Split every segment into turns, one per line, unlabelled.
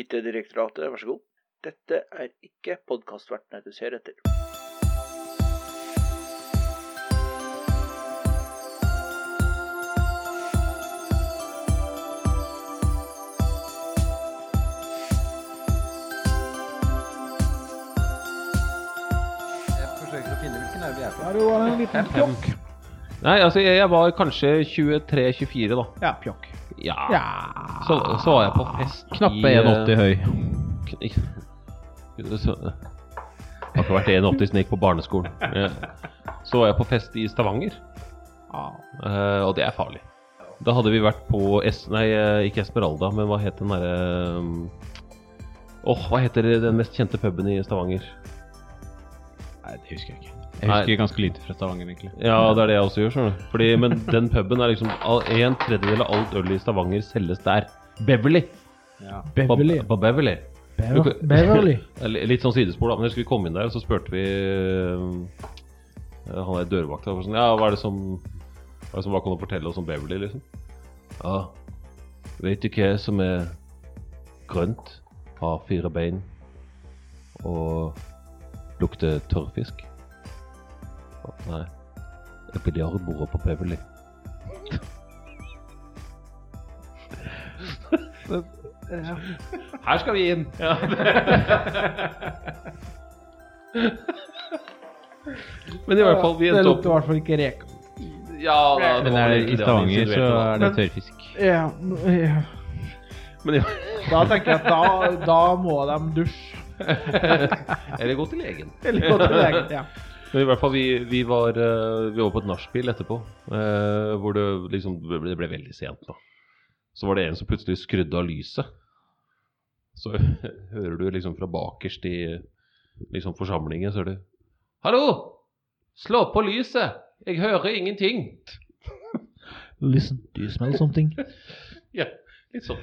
IT-direktoratet, vær så god. Dette er ikke podkastvertene du ser etter.
Jeg forsøker å finne hvilken øyeblikk jeg er på.
Der var det en liten pjokk.
Nei, altså jeg, jeg var kanskje 23-24 da.
Ja, pjokk.
Ja.
Ja.
Så, så var jeg på fest eh,
Knappe 1,80 høy.
høy. Har ikke vært 1,80 snik på barneskolen. Ja. Så var jeg på fest i Stavanger,
Ja.
eh, og det er farlig. Da hadde vi vært på es Nei, eh, ikke Esmeralda, men hva het den derre Åh, hva heter den mest kjente puben i Stavanger?
Nei, det husker jeg ikke. Jeg
Nei.
husker ganske lite fra Stavanger, egentlig.
Ja, det er det jeg også gjør, skjønner du. Fordi, men den puben er liksom all- En tredjedel av alt øl i Stavanger selges der. Beverly.
Ja.
På-
Beverly.
På Beverly.
Bever Beverly.
Eller Litt sånn sidespor, da. Men jeg husker vi kom inn der, og så spurte vi eh, han der dørvakta og sånn, Ja, hva er det som Hva er det som hva kan du fortelle oss om Beverly, liksom? Ja, vet du hva som er grønt, har fire bein og lukter tørrfisk? Nei. Biljardbordet på Beverly. Her skal vi inn! Ja, Men i hvert fall, vi
det
endte opp
lukter i hvert fall ikke reke.
Ja, da, det
Men
var vel
er det,
ikke
i
det han
Stavanger så
insinuerte, da.
er det tørrfisk.
Ja, ja.
Men,
Da tenker jeg at da, da må de dusje.
Eller gå til legen.
Eller gå til legen. Ja.
Men i hvert fall, vi, vi var eh, Vi var på et nachspiel etterpå, eh, hvor det liksom det ble, det ble veldig sent. da Så var det en som plutselig skrudde av lyset. Så hører du liksom fra bakerst i liksom forsamlingen, så hører du Hallo! Slå på lyset! Jeg hører ingenting!
Listen, do you smell something?
Ja, litt sånn.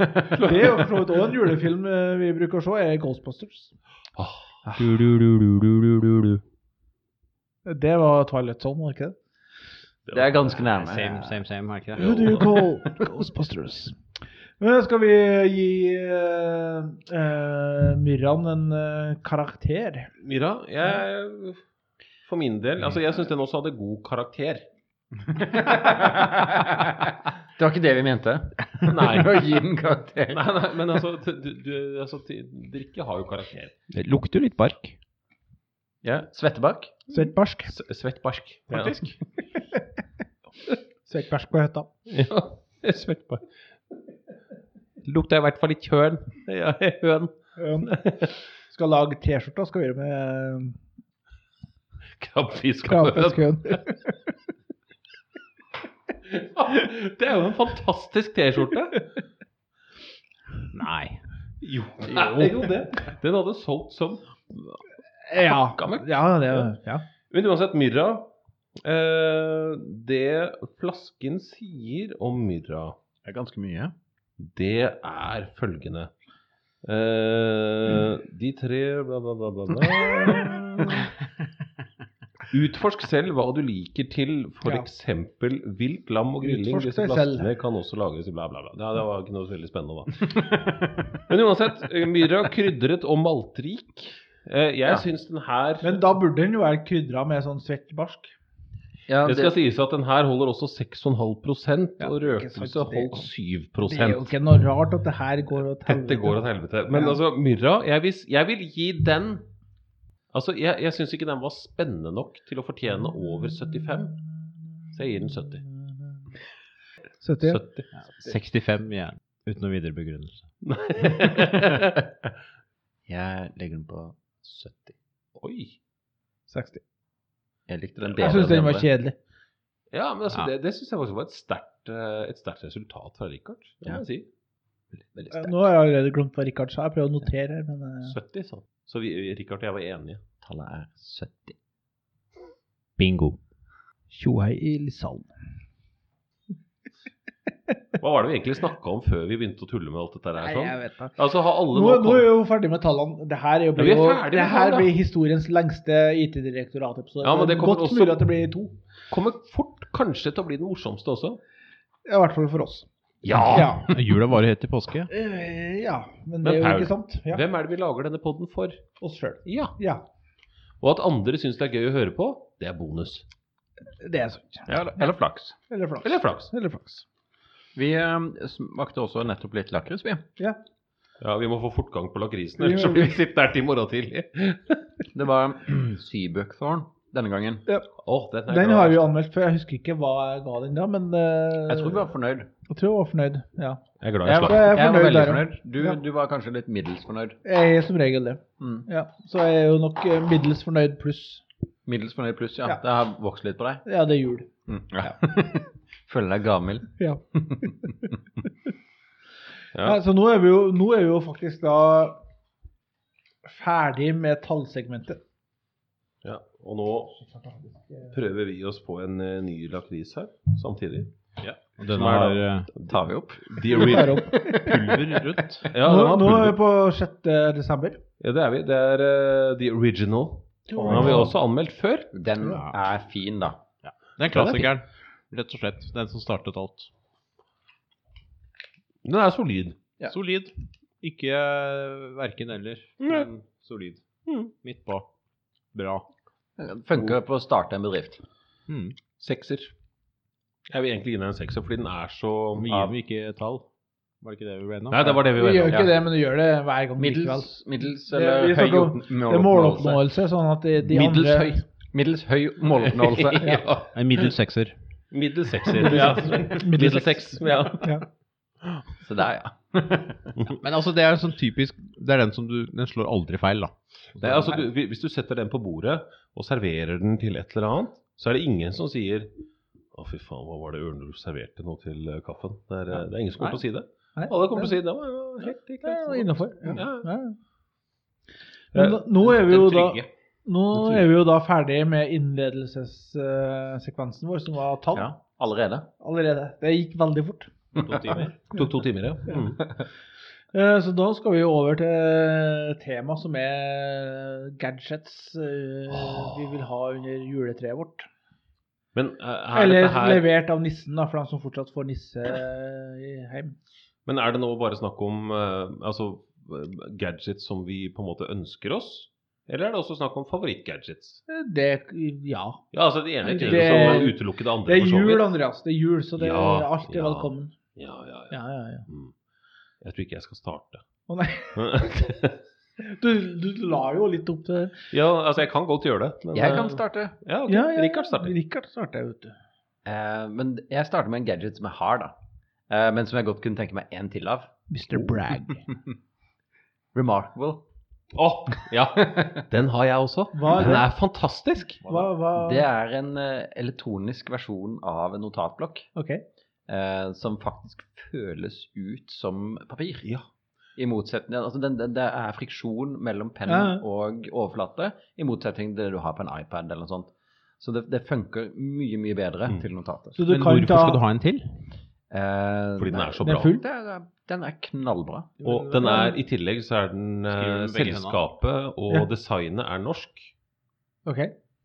Det er jo for så vidt også en julefilm eh, vi bruker å se, er Ghostbusters.
Ah,
Du, du, du, du, du, du, du, du.
Det var Twilight Zone, var det ikke det?
Det er ganske nærme. Same, same, same, er det ikke
Who do
det?
you call Ghostbusters? Men skal vi gi eh, eh, Myrran en eh, karakter?
Myra, jeg For min del Altså, jeg syns den også hadde god karakter.
Det var ikke det vi mente.
Nei.
Å gi den karakter.
Nei, nei, men altså, t- du, du, altså t- Drikke har jo karakter.
Det lukter jo litt bark.
Ja.
Svettebark.
Svettbarsk.
S svett barsk, faktisk.
Svettbarsk på høtta.
Ja. svett barsk. Lukta i hvert fall i kjølen. Ja, høn.
Um, skal lage T-skjorta, skal vi gjøre med eh,
Krabbefisk og høn.
krabbeskøen.
Det er jo en fantastisk T-skjorte.
Nei.
Jo, jo. jo det. Den hadde solgt som
Ja.
Pakka med.
ja, det ja.
Men uansett, Myrra eh, Det flasken sier om Myrra,
Det er ganske mye.
det er følgende eh,
Mm.
De tre bla, bla, bla, bla,
Eh,
bla. Utforsk selv hva du liker til
Ja.
f.eks. vilt lam og grilling.
Utforsk
Disse
deg selv.
plastene kan også lages i bla, bla, bla. Ja, det var ikke noe veldig spennende, da. Men uansett, Myra krydret og maltrik. Eh, Jeg
Ja.
syns den her
Men da burde den jo være krydra med sånn svettbarsk.
Ja,
Det skal sies at den her holder også 6,5
Ja,
og
ikke sant,
røkelse
det-
holdt 7
Det er jo ikke noe rart at det her går og
Dette går til helvete. Men
Ja.
altså, Myrra, jeg vil, jeg vil gi den Altså, jeg, jeg syns ikke den var spennende nok til å fortjene over 75, så jeg gir den 70.
70.
70.
65 ja. uten noen videre begrunnelse. Jeg legger den på 70.
Oi.
60.
Jeg likte den
Jeg syns den var kjedelig.
Ja, men altså,
Ja.
det, det syns jeg faktisk var et sterkt eh, et sterkt resultat fra Richard. Det må jeg si.
Veldig
Eh,
sterk.
Nå har jeg allerede glemt hva Rikard sa, jeg prøver å notere her, men eh,
70, sånn. Så vi, Richard og jeg var enige.
Tallet er 70. Bingo.
Tjohei i Lissalm.
Hva var det vi egentlig snakka om før vi begynte å tulle med alt dette der? Sånn?
vet da.
Altså, har alle
Nå,
nå
nå
kommet-
er vi jo ferdig med tallene. Det her, er jo,
Ja, vi er
blir jo-
ferdig med
det her
tallene.
blir historiens lengste IT-direktorat-episode.
Ja, men det kommer
Godt
også-
mulig at det blir to.
kommer fort kanskje til å bli den morsomste også.
Ja, I hvert fall for oss.
Ja!
Ja.
Jula varer helt til påske.
Eh, ja, men
Ah. Men
det er jo
Paul,
ikke sant. Ja,
Hvem er det vi lager denne podden for?
oss sjøl.
Ja.
Ja,
Og at andre syns det er gøy å høre på, det er bonus.
det er sant.
Eller, eller flaks.
Eller flaks.
Eller flaks.
Eller flaks.
Vi eh, smakte også nettopp litt lakris, vi.
Ja.
Ja, vi må få fortgang på lakrisen,
Vi
ellers så
må-
blir vi sittende her til i morgen tidlig.
Det var Seabuckthorn denne gangen.
Åh, den er
Den
glad.
har vi jo anmeldt før. Jeg husker ikke hva jeg ga den da, men eh,
Jeg tror vi var fornøyd.
jeg tror jeg var fornøyd. Ja.
Jeg er glad i
Jeg,
slakt.
var-
Jeg er
jeg var
fornøyd
veldig
der, ja.
fornøyd. Du,
Ja.
du var kanskje litt middels fornøyd.
Jeg er som regel det.
Mm.
Ja. Så jeg er jo nok eh, middels fornøyd pluss.
Middels fornøyd pluss, ja.
Ja.
Det har vokst litt på deg.
Ja, det er jul.
Ja. Føler deg gammel.
Ja.
Ja.
Nei, så nå er, vi jo, nå er vi jo faktisk da ferdig med tallsegmentet.
Ja, og nå prøver vi oss på en eh, ny lakris her samtidig.
Den
var,
eh,
tar vi opp.
De
Vi tar opp.
Pulver rundt.
Nå,
Ja, den var
nå er vi
pulver.
på 6. desember.
ja, det er vi. Det er eh, The Original. Den har vi også anmeldt før.
Den er fin, da.
Den klassikeren, rett og slett. Den som startet alt.
Den er solid.
Solid. Ikke eh, verken eller, men solid.
Mm.
Midt på. Bra.
Funker på å starte en bedrift.
Sekser. Jeg vil egentlig gi den en sekser, fordi den er så
Og Vi gir jo ikke tall. Var det ikke det vi ble enige om?
Nei, det var det vi
Vi gjør
var
ikke
enige om.
det, men vi gjør det hver gang. likevel.
Middels, middels
Det-
eller
vi
høy
snakker om-
opp-
Det er
måloppnåelse.
måloppnåelse, sånn at de, de
Middels
andre
høy.
Middels høy måloppnåelse.
Ja.
En middels sekser.
Middels sekser. Ja. Middels seks. Ja.
Ja.
Se der, ja.
Men altså, det er en sånn typisk Det er den som du Den slår aldri feil, da.
Det er, altså, du, hvi- hvis du setter den på bordet og serverer den til et eller annet, så er det ingen som sier å, fy faen, hva var det Ørnulf serverte nå til eh, kaffen? Det er, eh, det er ingen som kommer til å si det.
Nei,
Alle kommer til å si det. var jo helt riktig.
Det er innafor. Ja.
Ja.
Ja. Men nå- nå er vi jo da Nå er vi jo da ferdig med innledelsessekvensen vår, som var tall
ja. Allerede.
allerede. Det gikk veldig fort.
To timer. Tok to timer, ja. Mm.
Eh, Så da skal vi jo over til tema som er gadgets eh, vi vil ha under juletreet vårt.
Men eh, er,
Eller
dette her,
levert av nissen, da, for de som fortsatt får nisse eh, i heim.
men er det nå bare snakk om eh, altså, eh, gadgets som vi på en måte ønsker oss? Eller er det også snakk om favorittgadgets?
Eh, Det Ja.
Ja, altså det ene er ikke
Det-
som å utelukke det andre.
Det er
for så vidt.
jul, Andreas. Det er jul, så det,
Ja,
alt er
ja.
velkommen.
Ja, ja, ja.
Ja, ja, ja.
Mm. Jeg tror ikke jeg skal starte.
Å nei, du, du la jo litt opp til
ja, altså jeg kan godt gjøre det. men- eh,
Jeg kan starte.
Ja, ok.
Ja, ja, ja.
Rikard starter.
Rikard starter, vet du.
Eh, men jeg starter med en gadget som jeg har, da. Eh, men som jeg godt kunne tenke meg en til av.
Mr. Bragg.
Remarkable.
Å, ja. Den har jeg også.
Hva er
Den
det?
er fantastisk.
Hva, hva?
Det er en eh, elektronisk versjon av en notatblokk
Ok.
eh, som faktisk føles ut som papir.
Ja.
I motsetning, altså den, den, Det er friksjon mellom penn
Ja, ja.
og overflate, i motsetning til det du har på en iPad. eller noe sånt. Så det, det funker mye mye bedre
Mm.
til notater.
Så du
Men
kan
hvorfor
ta
skal du ha en til?
Eh,
Fordi den
nei,
er så
Den
bra.
er full?
det er- Den er knallbra.
Og den er i tillegg så er den eh,
Skriver den med begge
Selskapet og
Ja.
designet er norsk,
Ok.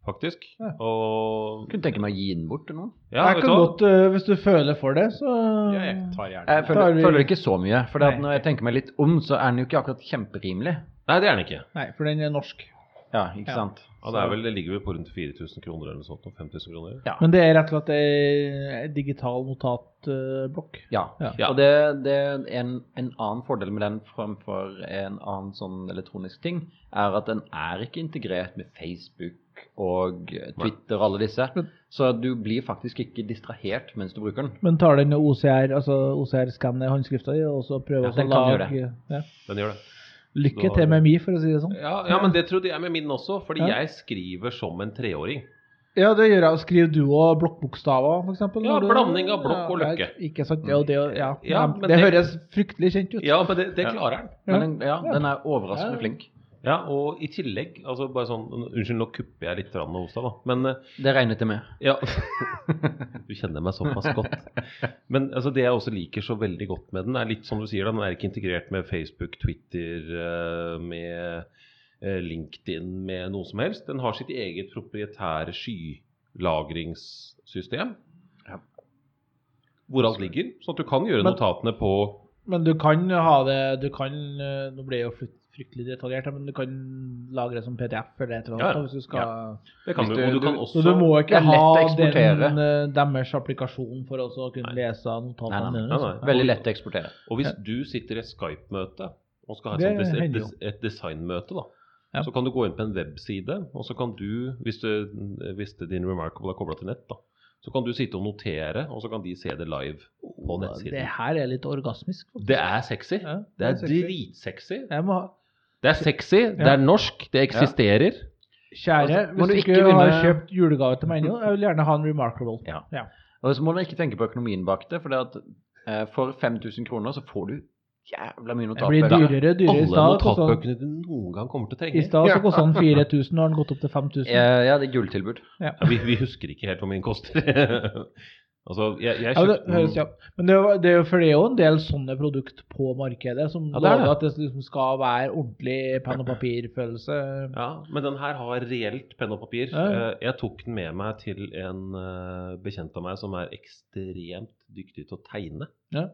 faktisk.
Ja.
Og
Kunne tenke meg å gi den bort til noen.
Ja,
jeg
vet
kan
du hva?
godt, eh, hvis du føler for det, så
Ja, jeg
Mm.
tar
Jeg
gjerne den.
Da er
Eh, føler,
vi-
føler ikke så mye. For
Nei.
når jeg tenker meg litt om, så er den jo ikke akkurat kjemperimelig.
Nei, det er den ikke.
Nei, for den er norsk.
Ja, ikke
Ja.
sant?
Ja, det, er vel, det ligger vel på rundt 4000 kroner eller noe sånt. og 5000 kroner.
Ja.
Men det er rett og slett ei digital notatblokk.
Ja.
Ja.
Og det, det er en, en annen fordel med den framfor en annen sånn elektronisk ting, er at den er ikke integrert med Facebook og Twitter og alle disse.
Men-
Så du blir faktisk ikke distrahert mens du bruker den.
Men tar den OCR, altså OCR-skanner håndskrifta di, og så prøver
Ja,
å
den kan
lage-
gjøre
ja.
Den gjør det.
Lykke
Da-
til med mi, for å si det sånn.
Ja, ja, men det trodde jeg med min også, fordi
Ja.
jeg skriver som en treåring.
Ja, det gjør jeg. Skriver du òg blokkbokstaver, f.eks.?
Ja, blanding av blokk og løkke.
Ikke sant. Ja, det, ja.
Ja,
det,
men det-
høres fryktelig kjent ut.
Ja, men det, det klarer den.
Ja.
Men den, ja, den er overraskende
Ja.
flink.
Ja, og i tillegg altså bare sånn, Unnskyld, nå kupper jeg litt grann hos deg, da. Men eh,
Det regnet jeg med.
ja, Du kjenner meg såpass godt. Men altså, det jeg også liker så veldig godt med den, er litt som du sier, da, den er ikke integrert med Facebook, Twitter, eh, med eh, LinkedIn, med noe som helst. Den har sitt eget proprietære skylagringssystem.
Ja.
hvor alt ligger, sånn at du kan gjøre
Men-
notatene på
Men du kan ha det du kan, eh, Nå blir det jo frykt- fryktelig detaljert, her, men du kan lagre det som PDF eller et eller
Ja,
annet.
ja.
hvis du skal...
det kan
Hvis
du,
du-
Og du kan
du-
Så
også
du må
det
ikke
er lett å
ha
eksportere.
den, eh, deres applikasjon for også å kunne lese
Nei, nei,
notatene
nei,
dine?
nei.
Veldig lett å eksportere.
Og hvis du sitter i et Skype-møte og skal ha et,
Det
sånt des et,
hender jo.
des et designmøte, da,
Ja.
så kan du gå inn på en webside, og så kan du, hvis, du, hvis det- din Remarkable er kobla til nett, da, så kan du sitte og notere, og så kan de se det live
Det
på nettsiden.
her er litt orgasmisk. faktisk.
Det er sexy.
Ja,
Det er
sexy.
dritsexy.
Jeg må ha
Det er sexy, det er norsk, det eksisterer.
Kjære,
Altså,
hvis du
må du
ikke,
ikke
har
begynne-
kjøpt julegave til meg ennå, jeg vil gjerne ha en Remarkable.
Ja. Og så må man ikke tenke på økonomien bak det, for det at eh, for 5000 kroner så får du jævla mye
Det blir
notatbøker.
dyrere og dyrere. I
Alle
stad kostet den-
notatbøkene du noen gang kommer til å
i
trenge.
stad så kosta den 4000, nå har den gått opp til 5000.
Ja, ja, det er gulltilbud.
Ja, vi, vi husker ikke helt hvor mye den koster. altså, jeg, jeg
Ja, det
kjøpte
høres,
den
ja. Men det er, jo- det er jo, for det er jo en del sånne produkter på markedet som
Ja, det er
lover
det.
at det liksom skal være ordentlig penn og papir-følelse.
Ja, men den her har reelt penn og papir.
Ja, ja.
Eh, Jeg tok den med meg til en eh, bekjent av meg som er ekstremt dyktig til å tegne.
Ja.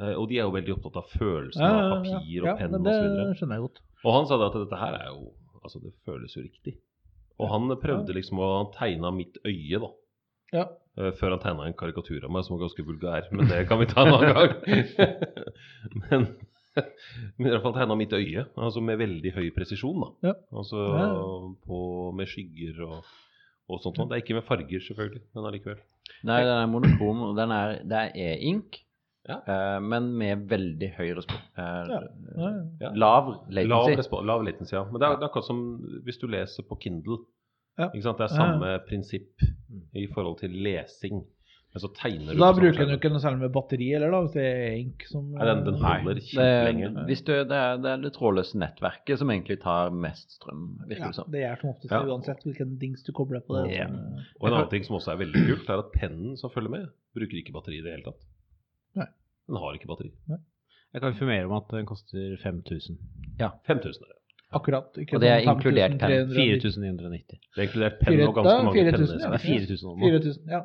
Eh, Og de er jo veldig opptatt av følelsen
Ja,
av
ja, ja.
papir
Ja,
og penn
men
og så videre.
Det skjønner jeg godt.
Og han sa det at dette her er jo Altså, det føles jo riktig. Og han prøvde liksom å Han tegna mitt øye, da.
Ja.
Eh, Før han tegna en karikatur av meg som var ganske vulgær, men det kan vi ta en annen gang. men, men i hvert fall tegna mitt øye, altså med veldig høy presisjon, da.
Ja.
Altså
Ja.
på, med skygger og, og sånt. noe. Det er ikke med farger, selvfølgelig, men allikevel.
Nei, den er monokrom, og den er, det er ink,
Ja.
eh, men med veldig høy respons. eh,
Ja. Ja, ja.
Ja.
Lav
Lav,
latency.
respo- lav latency, ja. Men det er, det er akkurat som hvis du leser på Kindle.
Ja.
Ikke sant? Det er
Ja, ja.
samme prinsipp i forhold til lesing. Men så tegner
Så da
du på
sånn
samme
bruker
skjerm.
du ikke noe særlig med batteri, eller da, hvis det er ink som
Nei, den, den holder
Det,
kjempelenge.
hvis du, det, er, det er det trådløse nettverket som egentlig tar mest strøm, virker
ja,
det som.
Det er som oftest
Ja.
uansett hvilken dings du kobler på. Det,
Ja.
sånn, eh,
Og en annen ting som også er veldig kult, er at pennen som følger med, bruker ikke batteri i det hele tatt.
Nei.
Den har ikke batteri.
Jeg kan informere om at den koster 5000.
5000 er det.
akkurat. Ikke
Og det er
sånn
inkludert
5390.
pen.
4990.
Det er inkludert penn
Fire-
og ganske
da,
mange
4000,
penneser.
ja.
4000 og noe.
4000, ja.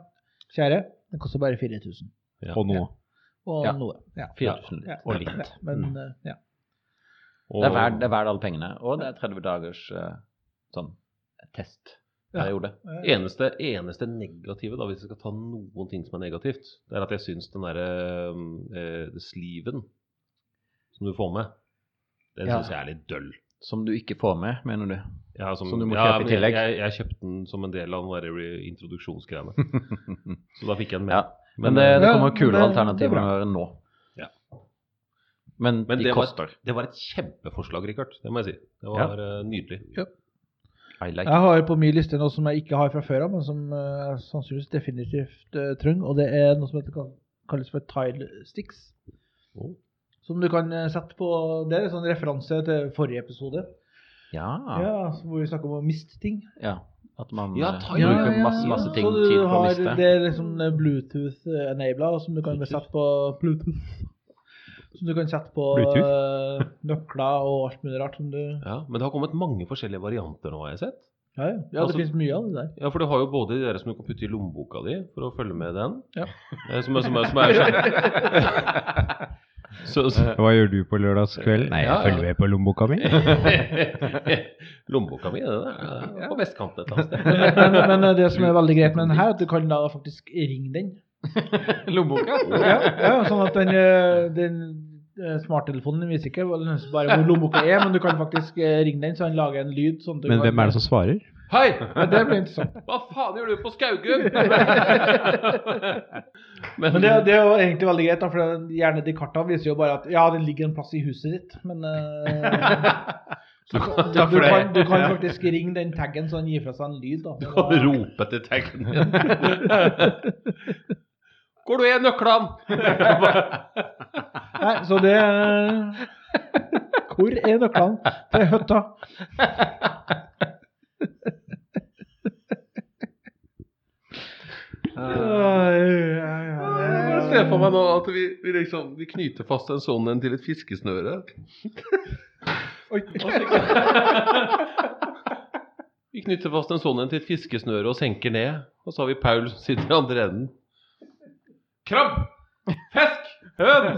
Kjære, det koster bare 4000.
Ja.
Og noe.
Og
Ja.
noe. Ja.
4000
Ja.
litt. Mm.
Og litt.
Ja, Men eh, ja.
Og-
Det er verdt det er verdt alle pengene. Og det er 30 dagers eh, sånn testperiode.
Eneste, eneste negative, da, hvis jeg skal ta noen ting som er negativt, det er at jeg syns den derre eh, sliven som du får med, den
Ja.
syns jeg er litt døll.
Som du ikke får med, mener du.
Ja, som,
Som du må
ja,
kjøpe i
men jeg-
tillegg.
Jeg, jeg kjøpte den som en del av den der re- introduksjonsgreiene. Så da fikk jeg den med.
Ja. Men det,
eh,
det
Ja,
kommer
men det-
kulere
det er bra.
alternativer nå.
Ja.
Men,
Men
de
det var,
koster.
det var et kjempeforslag, Richard. Det må jeg si. Det var eh, nydelig.
I like.
Jeg har på min liste noe som jeg ikke har fra før av, men som eh, jeg sannsynligvis definitivt eh, trenger. Og det er noe som heter, kan- kalles for tile sticks.
Oh.
Som du kan eh, sette på Det er en sånn referanse til forrige episode,
Ja.
ja, hvor vi snakka om å miste ting.
ja. At man
Ja,
eh,
ta-
bruker
ja, ja, ja,
masse, masse ting
Så du
tid på å
har,
miste.
Det er liksom Bluetooth-enabla, som du kan sette på Bluetooth. Som du kan sette på eh, nøkler og alt mulig rart som du
Ja, men det har kommet mange forskjellige varianter nå, har jeg sett.
Ja, ja. ja
Altså-
det finnes mye av det der.
Ja, for du har jo både de der som du kan putte i lommeboka di for å følge med den.
Ja.
Eh, Som, er- som, er- som er sånn. Så, så.
Hva gjør du på lørdagskveld? Nei,
Ja, ja.
med på lommeboka mi.
Lommeboka mi, det der. er På vestkanten et eller annet sted.
Men, men eh, det som er veldig greit med den her, er at du kan da faktisk ringe den.
Lommeboka?
Ja, ja sånn at den, eh, den eh, smarttelefonen den viser ikke vel, bare hvor lommeboka er, men du kan faktisk eh, ringe den, så han lager en lyd. Sånn at du
Men
kan,
hvem er det som svarer?
Hei!
Ja, det blir interessant.
Hva faen gjør du på Skaugum? Men,
Men det, det er jo egentlig veldig greit, da, for gjerne de kartene viser jo bare at ja, det ligger en plass i huset ditt, men eh,
du kan,
du, du, kan, du kan faktisk ringe den taggen så han gir fra seg en lyd. Da.
Du kan rope til taggen din. Hvor du er nøklene?
Nei, så det Hvor er nøklene til høtta?
Jeg ser for meg nå at vi, vi liksom Vi knyter fast en sånn en til et fiskesnøre.
Oi.
Vi knytter fast en sånn en til et fiskesnøre og senker ned. Og så har vi Paul som sitter i andre enden. Krabb!
Fisk! Høn!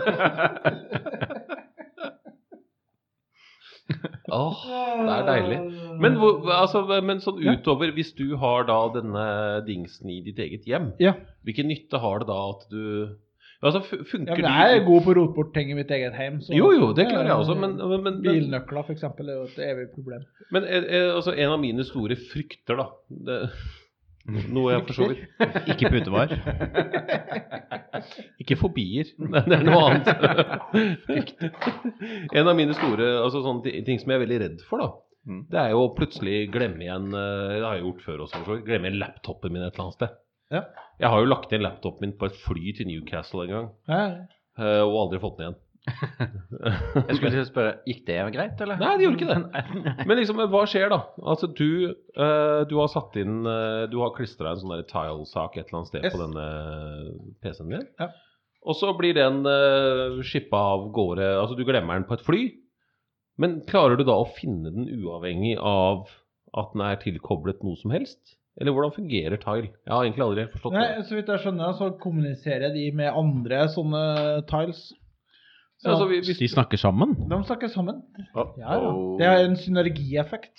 Åh, det er deilig. Men, hvor, altså, men sånn utover, hvis du har da denne dingsen i ditt eget hjem,
Ja.
hvilken nytte har det da at du Altså, fu-
Ja,
funker
men jeg er
de-
god på å rote bort ting i mitt eget hjem. så- Eh,
Jo, jo, det klarer jeg også, men, men, men, men,
Bilnøkler, f.eks., er jo et evig problem.
men eh, eh, altså, en av mine store frykter, da det, Noe jeg for så vidt
Ikke putevar.
Ikke fobier, men det er noe annet. en av mine store altså, sånne ti- ting som jeg er veldig redd for, da,
Mm.
det er jo å plutselig glemme igjen eh, Det har jeg gjort før også, for så vidt. Glemme igjen laptopen min et eller annet sted.
Ja.
Jeg har jo lagt igjen laptopen min på et fly til Newcastle en gang,
Ja,
eh, og aldri fått den igjen.
Jeg skulle til å spørre, gikk det greit, eller?
Nei, det gjorde ikke
det.
Men liksom, hva skjer da? Altså, du, eh, du har satt inn eh, Du har klistra en sånn der tile-sak et eller annet sted
Yes.
på denne PC-en din.
Ja.
Og så blir den uh, skippa av gårde Altså, du glemmer den på et fly. Men klarer du da å finne den uavhengig av at den er tilkoblet noe som helst? Eller hvordan fungerer tile? Jeg har egentlig aldri helt forstått
Nei,
det.
så vidt jeg skjønner, så kommuniserer de med andre sånne tiles. Så
Ja, altså, vi- hvis-
De snakker sammen?
de snakker sammen. Ja, ja.
Uh-oh.
Det er en synergieffekt.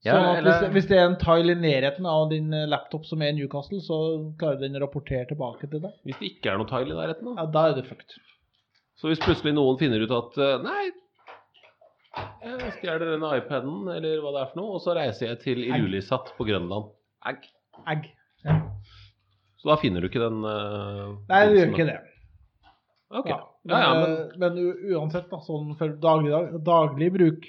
Så
Ja,
at hvis,
eller-
hvis det er en tile i nærheten av din eh, laptop som er i Newcastle, så klarer den å rapportere tilbake til deg.
Hvis det ikke er noe tile i nærheten, da.
Ja, da er det fucked.
Så hvis plutselig noen finner ut at eh, Nei, jeg stjeler denne iPaden, eller hva det er for noe, og så reiser jeg til Ilulissat på Grønland.
Egg.
Egg.
Så da finner du ikke den eh,
Nei, du gjør
forbindelsen,
ikke
da.
det.
Ok.
Ja,
Ja,
men,
ja, men,
eh, men u- uansett, da, sånn for daglig, dag- daglig bruk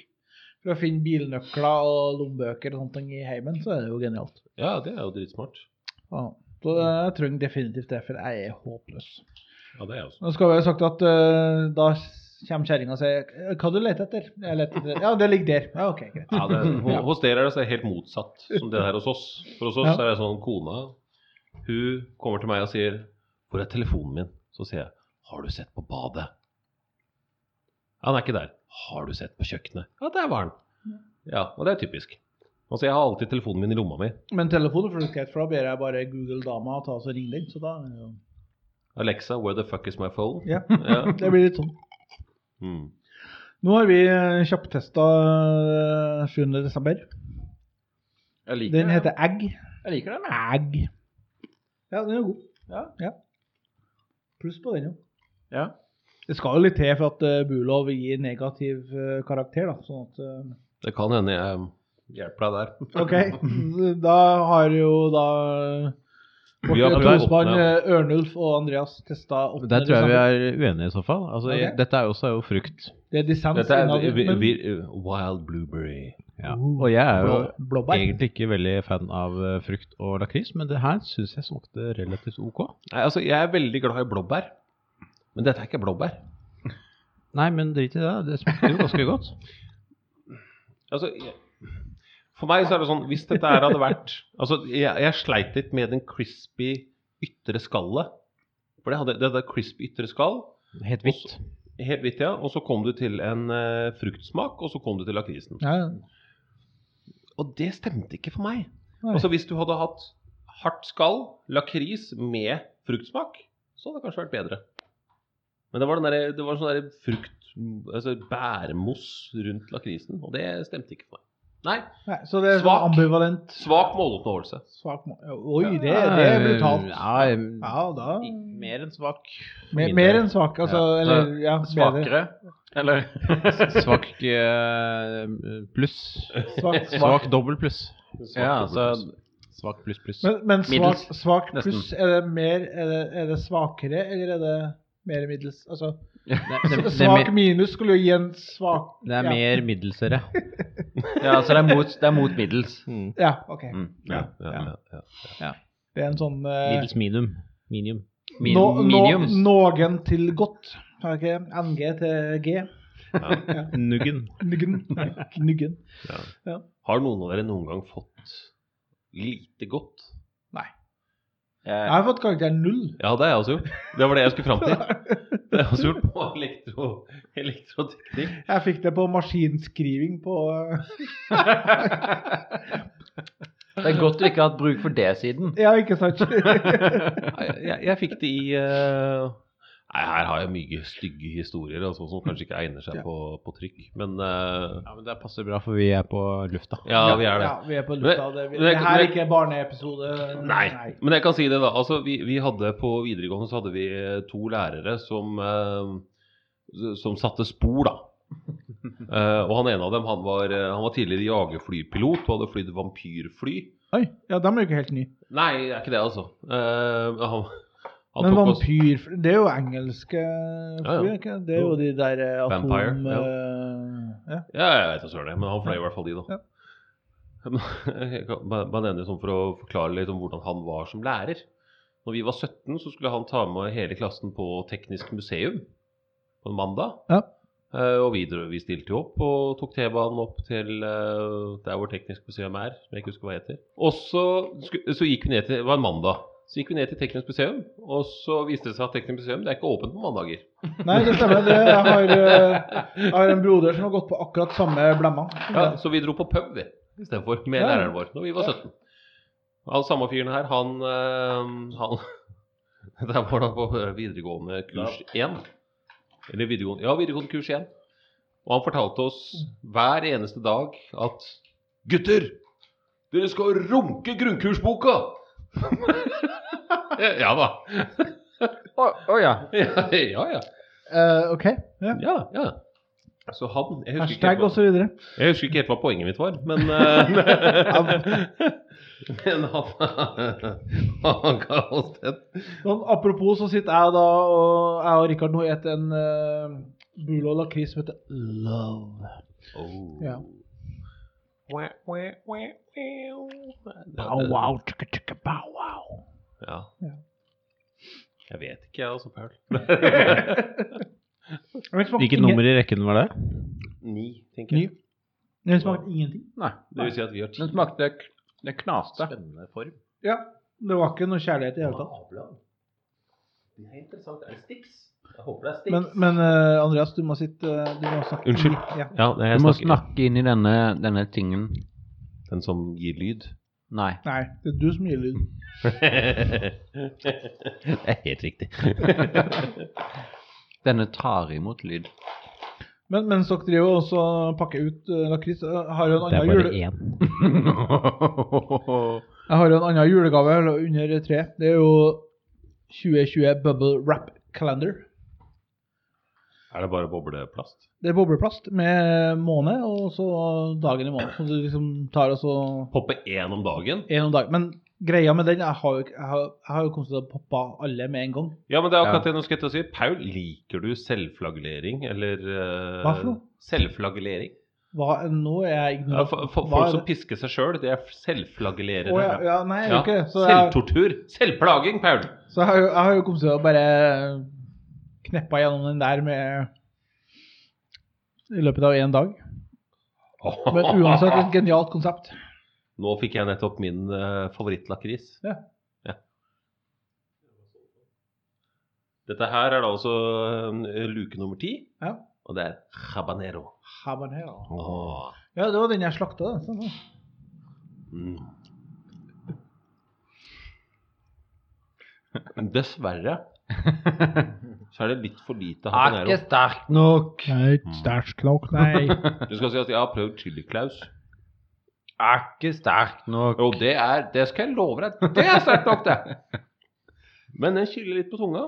for å finne bilnøkler og lommebøker og sånne ting i heimen, så er det jo genialt.
ja, det er jo dritsmart.
Ja. Så eh, jeg trenger definitivt det, for jeg er håpløs.
Ja, det er jeg også.
Nå skal vi ha sagt at eh, da kommer kjerringa og sier «Eh, 'Hva du leter etter?' Jeg leter etter. 'Ja, det ligger der.' Ja, OK, greit.
Ja, det, ho- hos dere er det så helt motsatt som det der hos oss. For hos oss
Ja.
er det sånn kona Hun kommer til meg og sier 'Hvor er telefonen min?' Så sier jeg 'Har du sett på badet?' Ja, den er ikke der. 'Har du sett på kjøkkenet?' Ja, der var den. Ja, og det er typisk. Altså, jeg har alltid telefonen min i lomma mi.
Men telefonen får du ikke helt, for da ber jeg bare Google-dama ta oss og ringe den. Så da er det jo-
Alexa, where the fuck is my phone?
Ja.
Ja.
Det blir litt sånn.
Mm.
Nå har vi eh, kjapptesta eh, 7. desember.
Jeg liker
Den
det.
heter Egg.
Jeg liker den, jeg.
Egg. Ja, den er god. Ja. Pluss på den, jo.
Ja.
Det skal jo litt til for at eh, Bulov gir negativ eh, karakter, da. Sånn at eh,
Det kan hende jeg um, hjelper deg der.
OK. Da har jo da
Vi har
vårt
prøvd
husband
åpne.
eh, Ørnulf og Andreas testa åttende
Der tror jeg vi
desember.
er uenige i så fall. Altså,
Ok.
Dette er jo også er jo frukt.
Det er dissens
Dette er
innad i-
vi,
men-
vi, uh, Wild Blueberry.
Ja.
Oh.
Og jeg er jo
Blå- blåbær.
egentlig ikke veldig fan av eh, frukt og lakris, men det her syns jeg smakte relativt ok.
Nei, altså, jeg er veldig glad i blåbær. Men dette er ikke blåbær.
Nei, men drit i det. Det smakte jo ganske godt.
Altså, jeg, for meg så er det sånn Hvis dette her hadde vært Altså, jeg, jeg sleit litt med den crispy ytre skallet. For det hadde det hadde crispy ytre skall.
Helt hvitt.
Helt hvitt, ja. Og så kom du til en eh, fruktsmak, og så kom du til lakrisen.
Ja,
Og det stemte ikke for meg.
Nei.
Altså Hvis du hadde hatt hardt skall, lakris med fruktsmak, så hadde det kanskje vært bedre. Men det var, den der, det var sånn der frukt Altså bæremos rundt lakrisen, og det stemte ikke for meg. Nei,
Nei, så det er
Svak.
sånn ambivalent.
svak måloppnåelse.
Svak må- Oi, det, det er brutalt.
Ja,
Ja, da
mer enn svak.
Mm. Mer, mer enn svak, altså.
Ja.
Eller, ja, bedre.
Svakere. Eller?
Svak eh, pluss.
Svak, svak.
Svak dobbel pluss.
Ja, altså,
Svak pluss pluss.
Men, men svak,
Middels,
svak
nesten.
pluss, er det mer er det, er det svakere, eller er det mer middels? Altså,
Det, det, det, er
svak
mer-
minus skulle jo gi en svak
det er
ja.
mer middelsere.
ja, altså det er mot, det er mot middels.
Ja, OK.
Mm.
Ja, ja, ja, ja.
Det er en sånn eh,
Middels medium. Medium.
Min,
nå, nå,
mediums.
Noen til godt. Har jeg ikke NG til G?
Nuggen.
Nuggen. Knuggen.
Har noen av dere noen gang fått lite godt?
Jeg
Eh,
har fått karakter null.
Ja, det har jeg også gjort. Det var det jeg skulle fram til. Det har jeg også gjort på elektro, elektroteknikk.
Jeg fikk det på maskinskriving på eh,
Det er godt du ikke har hatt bruk for det siden.
Ja, ikke sant?
Nei, jeg, jeg fikk det i eh, Nei, her har jeg mye stygge historier altså, som kanskje ikke egner seg på, på trykk, men eh,
Ja, men Det passer bra, for vi er på lufta.
ja, vi er det.
Ja, vi er på lufta. Det,
Men-
det her er ikke en barneepisode.
Nei. Men jeg kan si det, da. Altså, vi, vi hadde på videregående så hadde vi eh, to lærere som, eh, som satte spor, da. Eh, og han ene av dem han var, eh, han var tidligere jagerflypilot og hadde flydd vampyrfly.
Oi, ja, de er jo ikke helt nye.
Nei, det er ikke det, altså. Eh, han, han
Men
tok oss-
vampyr Det er jo engelske
ja.
fly, ikke? Det er jo de der eh, atom...
Vampire, ja.
eh, ja.
Ja, jeg vet ikke søren, jeg, men han fløy i hvert fall de, da.
Ja.
Men jeg kan bare- bare nevne sånn for å forklare litt om hvordan han var som lærer. Når vi var 17, så skulle han ta med hele klassen på Teknisk museum på en mandag.
Ja.
Eh, og vi, dro- vi stilte jo opp og tok T-banen opp til eh, der hvor Teknisk museum er. Som jeg ikke husker hva det heter. Og så, sku- så gikk vi ned til Det var en mandag. Så gikk vi ned til Teknisk museum, og så viste det seg at Teknisk museum det er ikke åpent på mandager.
Nei, det stemmer. Det, jeg, har, eh, jeg har en broder som har gått på akkurat samme blemma.
Ja, så vi dro på pub vi, istedenfor med
Ja.
læreren vår når vi var 17. Han samme fyren her, han, eh, han Der var han på videregående kurs 1. Eller videregående, ja, videregående kurs 1. Og han fortalte oss hver eneste dag at Gutter! Dere skal runke grunnkursboka! ja da.
Å å ja.
Ja, ja.
Eh, ok. Ja.
ja, ja. Så han jeg husker, ikke
Hashtag
helt hva,
osv. Ja,
jeg husker ikke helt hva poenget mitt var, men eh, Men han, han ga oss den.
Sånn, apropos så sitter jeg da og jeg og Rikard nå et en uh, bulo lakris som heter Love. Ja. Bow wow, tjukka, tjukka, bow wow.
Ja.
Ja.
Jeg vet ikke, jeg altså, Paul.
Men det smakte
Hvilket
ingen-
nummer i rekken var det?
Ni, tenker
Ny.
jeg.
Den smakte ingenting.
Nei.
Det vil si at vi har ti.
Den smakte k- Det knaste.
Spennende form.
Ja, Det var ikke noe kjærlighet i det hele tatt.
Det er interessant. Er det Stix? Jeg håper det er
Men, men eh, Andreas, du må sitte eh, du må snakke.
Unnskyld.
Ja.
Ja, nei, jeg
Du må
snakker
snakke inn i denne, denne tingen.
Den som gir lyd.
Nei.
Nei, det er du som gir lyd.
det er helt riktig.
Denne tar imot lyd.
Men mens dere driver og også pakker ut eh, lakris, jeg har jo en annen jule...
én.
Jeg har jo en annen julegave eller under tre. Det er jo 2020 Bubble Wrap Calendar.
Er det bare bobleplast?
Det er bobleplast med måned, og så dagen i måneden. Så du liksom tar og så
Poppe én om dagen?
en om dagen. Men greia med den Jeg har jo, ikke- jeg har, jeg har jo konstatert poppa alle med en gang.
Ja, men det er akkurat det nå skal jeg til å si. Paul, liker du selvflagelering, eller eh,
Hva for noe?
Selvflagelering.
Hva, nå er jeg
Ja,
ignorant.
for, for,
Hva er
folk som
det?
pisker seg sjøl, det er selvflagellerere.
Å, ja, ja, nei, jeg
Ja,
gjør ikke det. Så jeg,
Selvtortur. Selvplaging, Paul.
så jeg har jo, jeg har jo kommet til å bare kneppa gjennom den der med I løpet av én dag. Men uansett et genialt konsept.
Nå fikk jeg nettopp min eh, favorittlakris.
Ja.
Ja. Dette her er da altså eh, luke nummer ti,
Ja.
og det er habanero.
Habanero.
Åh.
Ja, det var den jeg slakta. da. Sånn, da.
Mm. Men Dessverre så er det litt for lite
Er
habanero.
ikke sterk nok.
Nei, sterk nok, nei.
Du skal si at jeg har prøvd Chili Claus.
Er ikke sterk nok.
Jo, det er Det skal jeg love deg. Det er sterkt nok, det. Men den kiler litt på tunga.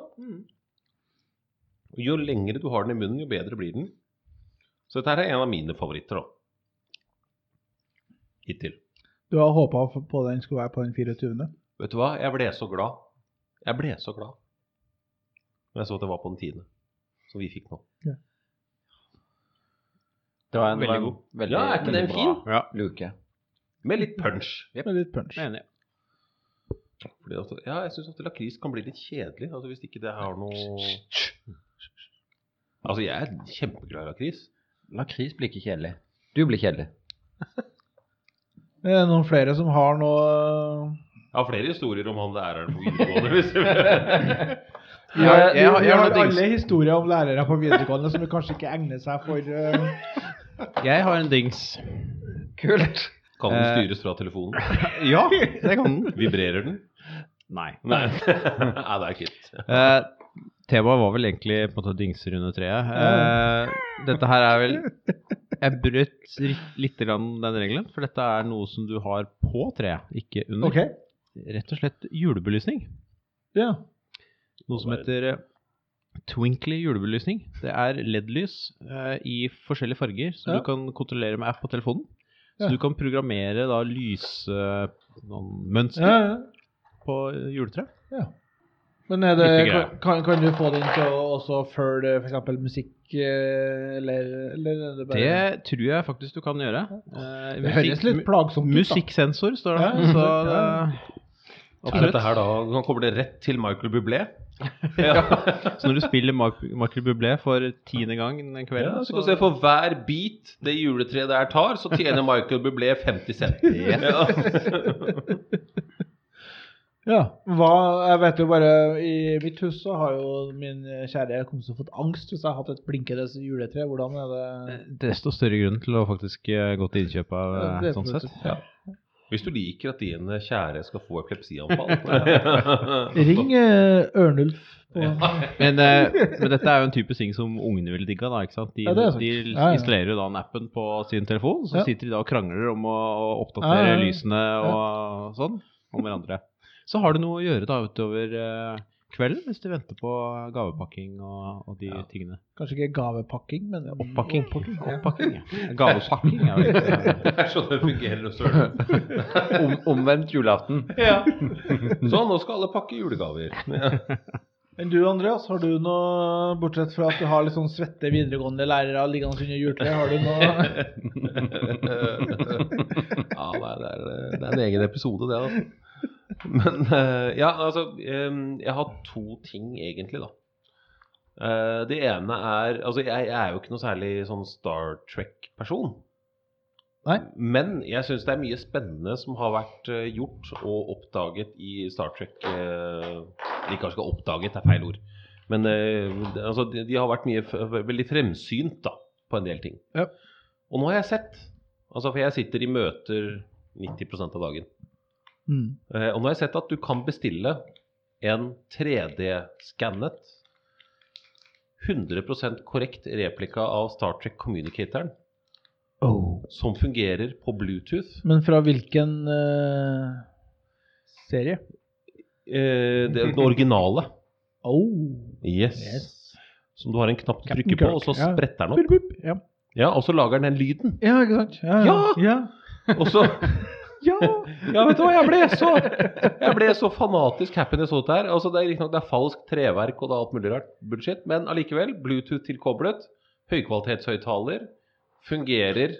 Og Jo lengre du har den i munnen, jo bedre blir den. Så dette her er en av mine favoritter, da. Hittil.
Du har håpa på den skulle være på den 24.
Vet du hva? Jeg ble så glad. Jeg ble så glad når jeg så at det var på den tiende, som vi fikk nå.
Det var
Veldig
en, det var en
god.
Veldig,
Ja, er ikke
veldig
den
bra
fin?
Ja.
Luke.
Med litt punch.
Med litt punch.
Enig.
Fordi at, ja, jeg syns at lakris kan bli litt kjedelig altså hvis ikke det har noe Altså, jeg er kjempeglad i lakris.
Lakris blir ikke kjedelig. Du blir kjedelig.
Er det noen flere som har noe
Jeg har flere historier om han læreren på videregående. hvis du vil.
Vi har,
jeg har-
vi- vi
jeg har
har
noe dings.
alle historier om lærere på videregående som kanskje ikke egner seg for eh,
Jeg har en dings.
Kult.
Kan den
Eh.
styres fra telefonen?
Ja, det kan den.
Vibrerer den?
Nei.
Nei. Nei, det er kit.
Eh, Temaet var vel egentlig på en måte dingser under treet. Eh, dette her er vel Jeg brøt ri- litt grann den regelen, for dette er noe som du har på treet, ikke under.
Ok.
Rett og slett julebelysning.
Ja.
Noe som heter eh, twinkly julebelysning. Det er LED-lys eh, i forskjellige farger som
Ja.
du kan kontrollere med app på telefonen. Så
Ja.
du kan programmere da lysmønster
ja, ja.
på eh, juletreet.
Men er det,
Ikke greia.
kan, kan du få den til å også følge f.eks. musikk, eh, eller, eller er det bare
Det tror jeg faktisk du kan gjøre. Eh,
Det høres litt plagsomt ut. da.
Musikksensor står det.
Ja, ja,
så
ja,
det,
ja.
Er
absolutt.
dette her da Han kobler det rett til Michael Bublé.
Så når du spiller Mark- Michael Bublé for tiende gang den kvelden,
Ja, så kan du
så
se For hver bit det juletreet der tar, så tjener Michael Bublé 50 cent. Ja.
Ja. Hva, jeg vet jo bare I mitt hus så har jo min kjære kommet til å fått angst hvis jeg har hatt et blinkende juletre. Hvordan er det
eh, desto større grunn til å faktisk eh, gå til innkjøp av eh,
Det er
sånn sett.
definitivt.
Hvis du liker at din kjære skal få epilepsianfall
Ring eh, Ørnulf. På,
Men, eh, men dette er jo en typisk ting som ungene ville digga. da, ikke sant? De,
Ja, det er sant.
de
Ja, ja.
installerer jo da en appen på sin telefon, så
Ja.
sitter de da og krangler om å, å oppdatere
Ja, ja, ja.
lysene og sånn om hverandre. Så har du noe å gjøre da utover eh, kvelden hvis du venter på gavepakking og, og de tingene.
Kanskje ikke gavepakking, men
Oppakking.
Oh,
Oppakking, ja. Gavepakking er jo ikke
Det er sånn det fungerer hos Ørnulf.
Om, omvendt julaften.
Ja. Så nå skal alle pakke julegaver.
Men du Andreas, har du noe Bortsett fra at du har litt sånn svette videregående lærere liggende under juletreet, har du noe
ja, nei, det er, det er en egen episode, det. da Men eh, ja, altså eh, Jeg har to ting, egentlig, da. Eh, det ene er Altså, jeg, jeg er jo ikke noe særlig sånn Star Trek-person.
Nei.
Men jeg syns det er mye spennende som har vært eh, gjort og oppdaget i Star Trek uh, Ikke kanskje oppdaget, det er feil ord. Men eh, det- altså, de, de har vært mye f veldig fremsynt da, på en del ting.
Ja.
Og nå har jeg sett, altså, for jeg sitter i møter 90 av dagen,
Mm.
Eh, og nå har jeg sett at du kan bestille en 3D-skannet 100 korrekt replika av Star Trek Communicatoren
Oh.
som fungerer på Bluetooth.
Men fra hvilken eh, serie?
Eh, det, det originale.
Oh.
Yes.
Yes.
Som du har en knapp du
Captain
trykker på,
Kirk,
og så
ja.
spretter den
Bup,
opp.
bup. Ja.
Ja, Og så lager den den lyden.
ja, ikke sant? Ja!
Ja!
ja.
Og så
ja.
Ja, vet du hva, jeg ble så Jeg ble så fanatisk happy når jeg så det her. Altså, det er riktignok det er falskt treverk og det er alt mulig rart bullshit, men allikevel. Bluetooth tilkoblet, høykvalitetshøyttaler, fungerer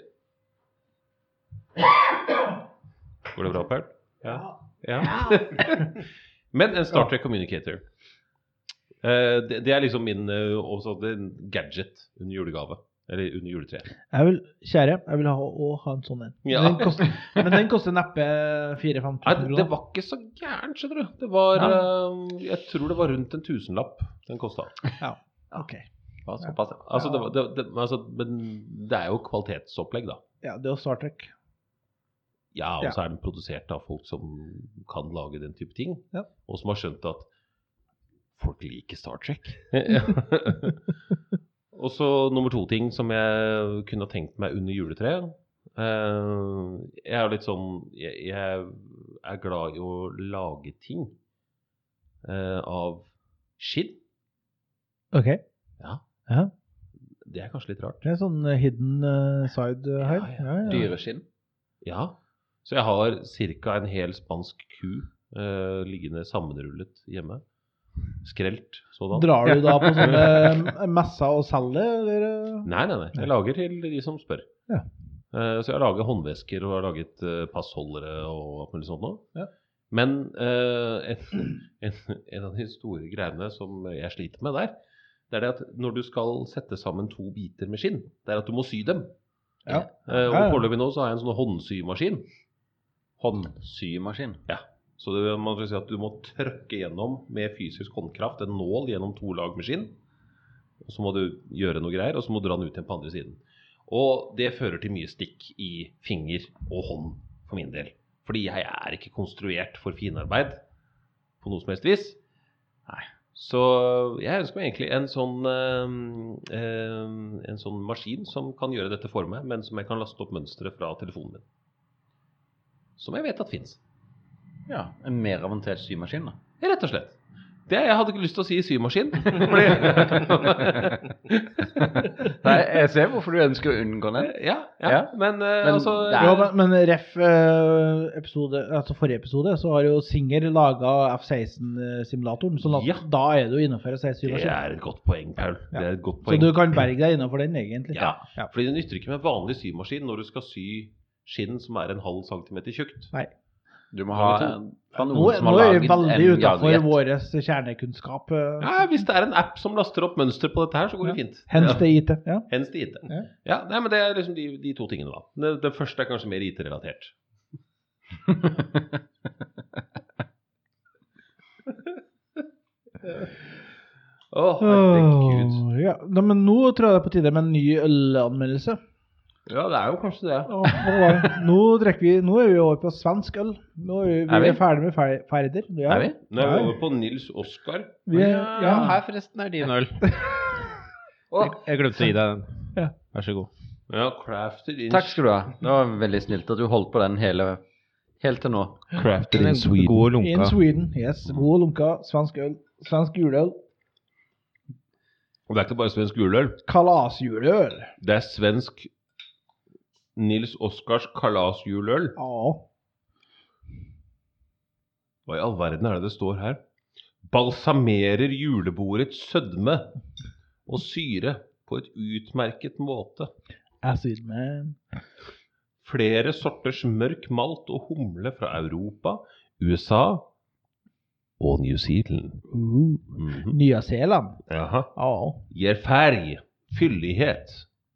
Går det bra, Paul? Ja. ja. men en Star Trek Communicator. Eh, det, det er liksom min eh, også, det er en gadget under julegave. Eller under juletreet.
Jeg vil, kjære, jeg vil ha, å ha en sånn en.
Ja.
Men, den koster, men den koster neppe 4-5
Nei,
tusen
det- det
kroner.
var ikke så gærent, skjønner du. Det var eh, Jeg tror det var rundt en tusenlapp den kosta.
Ok.
Ja, såpass, ja.
Altså, det, var- det, det, men altså, men det er jo kvalitetsopplegg, da.
Ja, det er jo Star Trek.
Ja, og
Ja.
så er den produsert av folk som kan lage den type ting,
Ja.
og som har skjønt at folk liker Star Trek. og så nummer to ting som jeg kunne ha tenkt meg under juletreet. Eh, jeg er jo litt sånn jeg, jeg er glad i å lage ting eh, av skinn.
Ok.
Det er kanskje litt rart.
Det er sånn eh, hidden eh, side eh, her.
Ja, ja.
Dyreskinn.
Ja. Så jeg har ca. en hel spansk ku eh, liggende sammenrullet hjemme. Skrelt sådan.
Drar du da på sånne eh, messer og selger, eller? eh?
Nei, nei, nei. Jeg lager til de som spør.
Ja.
Eh, så jeg har laget håndvesker og har laget eh, passholdere og alt mulig sånt noe.
Ja.
Men eh, en, en, en av de store greiene som jeg sliter med der, det er det at når du skal sette sammen to biter med skinn, det er at du må sy dem.
Ja.
Eh, og
Ja, ja.
foreløpig nå så har jeg en sånn håndsymaskin.
Håndsymaskin.
Så det, man skal si at du må trøkke gjennom med fysisk håndkraft en nål gjennom to lag med skinn. Og så må du gjøre noe greier, og så må du dra den ut igjen på andre siden. Og det fører til mye stikk i finger og hånd for min del. Fordi jeg er ikke konstruert for finarbeid på noe som helst vis. Så jeg ønsker meg egentlig en sånn, eh, eh, en sånn maskin som kan gjøre dette for meg, men som jeg kan laste opp mønsteret fra telefonen min. Som jeg vet at fins.
Ja, En mer avansert symaskin, da.
Rett og slett. Det jeg hadde ikke lyst til å si symaskin. Fordi,
Nei, jeg ser hvorfor du ønsker å unngå den.
ja, ja,
Ja.
Men, eh,
Men
altså
det er-
Jo, men, men ref eh, episode, altså forrige episode, så har jo Singer laga eh, F-16-simulatoren. Så da,
Ja.
sånn da er du innafor
Det
F-16-maskin.
er et godt poeng, Paul. Det er et godt
Så
poeng.
du kan berge deg innafor den, egentlig.
Ja,
Ja.
fordi det nytter ikke med vanlig symaskin når du skal sy skinn som er en halv centimeter tjukt.
Du må ha fra noen
Nå,
som
nå
har
er vi
laget en
veldig utafor
jagerjet.
vår kjernekunnskap. eh,
Ja, hvis det er en app som laster opp mønster på dette her, så går det fint.
Hens
Ja.
det IT. Ja.
Hens det IT.
Ja.
Ja, nei, men det er liksom de, de to tingene, da. Det, det første er kanskje mer IT-relatert. Å, herregud.
Åh, ja. Nei, men nå tror jeg det er på tide med en ny ølanmeldelse.
Ja, det er jo kanskje det.
Åh, hva var det? Nå, drikker vi, nå er vi over på svensk øl. Nå er vi,
Er
vi
vi?
er ferdig med fer- ferder. Ja.
Er vi?
Nå er vi over på Nils Oskar.
Vi er, ja.
Ja, her forresten er din øl. Jeg, jeg glemte å gi deg
Ja.
den. Vær så god.
Ja, crafted in
Takk skal du ha. Det var veldig snilt at du holdt på den hele, helt til nå.
Crafted
God
In
lunka.
Sweden. Yes. God lunka, svensk øl. Svensk juleøl.
Og det er ikke bare svensk juleøl.
Kalasjuleøl.
Det er svensk Nils Oskars kalasjuleøl.
Ja.
Hva i all verden er det det står her? Balsamerer julebordets sødme og syre på et utmerket måte.
Acid man.
Flere sorters mørk malt og humle fra Europa, USA og New Zealand.
Uh.
Mhm.
Nya Zeeland.
Jaha.
Ja.
Gir färg, fyllighet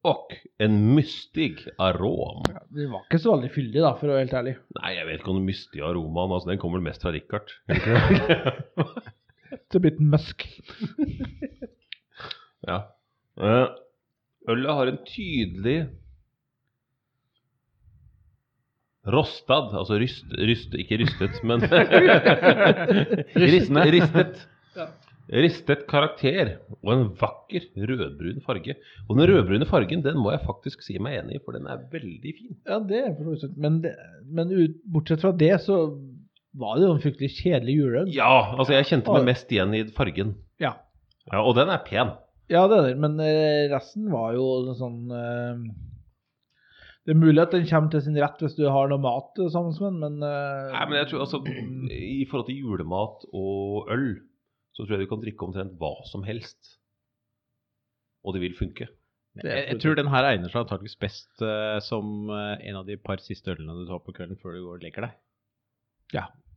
og en mystig arom.
Det var ikke så veldig fyldig, da, for å være helt ærlig.
Nei, jeg vet ikke om den mystige aromaen altså, Den kommer vel mest fra Richard.
Det er blitt musk.
Ja. Eh, Ølet har en tydelig Rostad, altså ryst, ryst Ikke rystet, men Rist- Ristet. Ristet karakter og en vakker rødbrun farge. Og den rødbrune fargen den må jeg faktisk si meg enig i, for den er veldig fin.
Ja, det er for så vidt sant. Men, det, men ut, bortsett fra det, så var det jo en fryktelig kjedelig juleøl.
Ja, altså jeg kjente meg mest igjen i fargen.
Ja.
Ja, Og den er pen.
Ja, det er det. Men eh, resten var jo noe sånn eh, Det er mulig at den kommer til sin rett hvis du har noe mat eh, sammen med den, men, eh,
Nei, men jeg tror altså I forhold til julemat og øl, så tror jeg du kan drikke omtrent hva som helst. Og det vil funke.
Jeg, jeg tror den her egner seg antakeligvis best eh, som eh, en av de par siste ølene du tar på kvelden før du går og legger deg.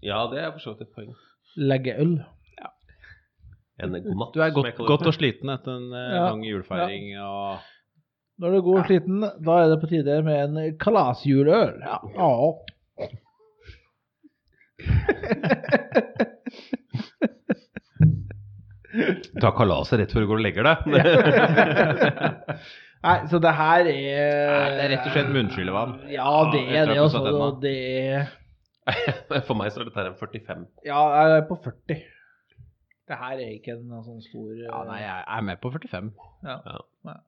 Ja, det er for så vidt et poeng.
legge øl.
En god natt.
Du er
som jeg
godt,
kaller
godt
det.
og sliten etter en eh,
Ja.
lang julefeiring. og...
Når du går sliten, da er det på tide med en kalasjuleøl. Ja.
Ta kalaset rett før du går og legger deg.
Nei, så det her er
Nei, det er rett og slett munnskyllevann.
Ja, det
Ja, jeg
er
tror
det,
jeg
altså.
forstår den, da.
og Det er
for meg så er dette her en 45.
Ja, jeg er på 40. Det her er ikke en sånn stor
Ja, nei, jeg er med på 45.
Ja.
Ja.
Ja.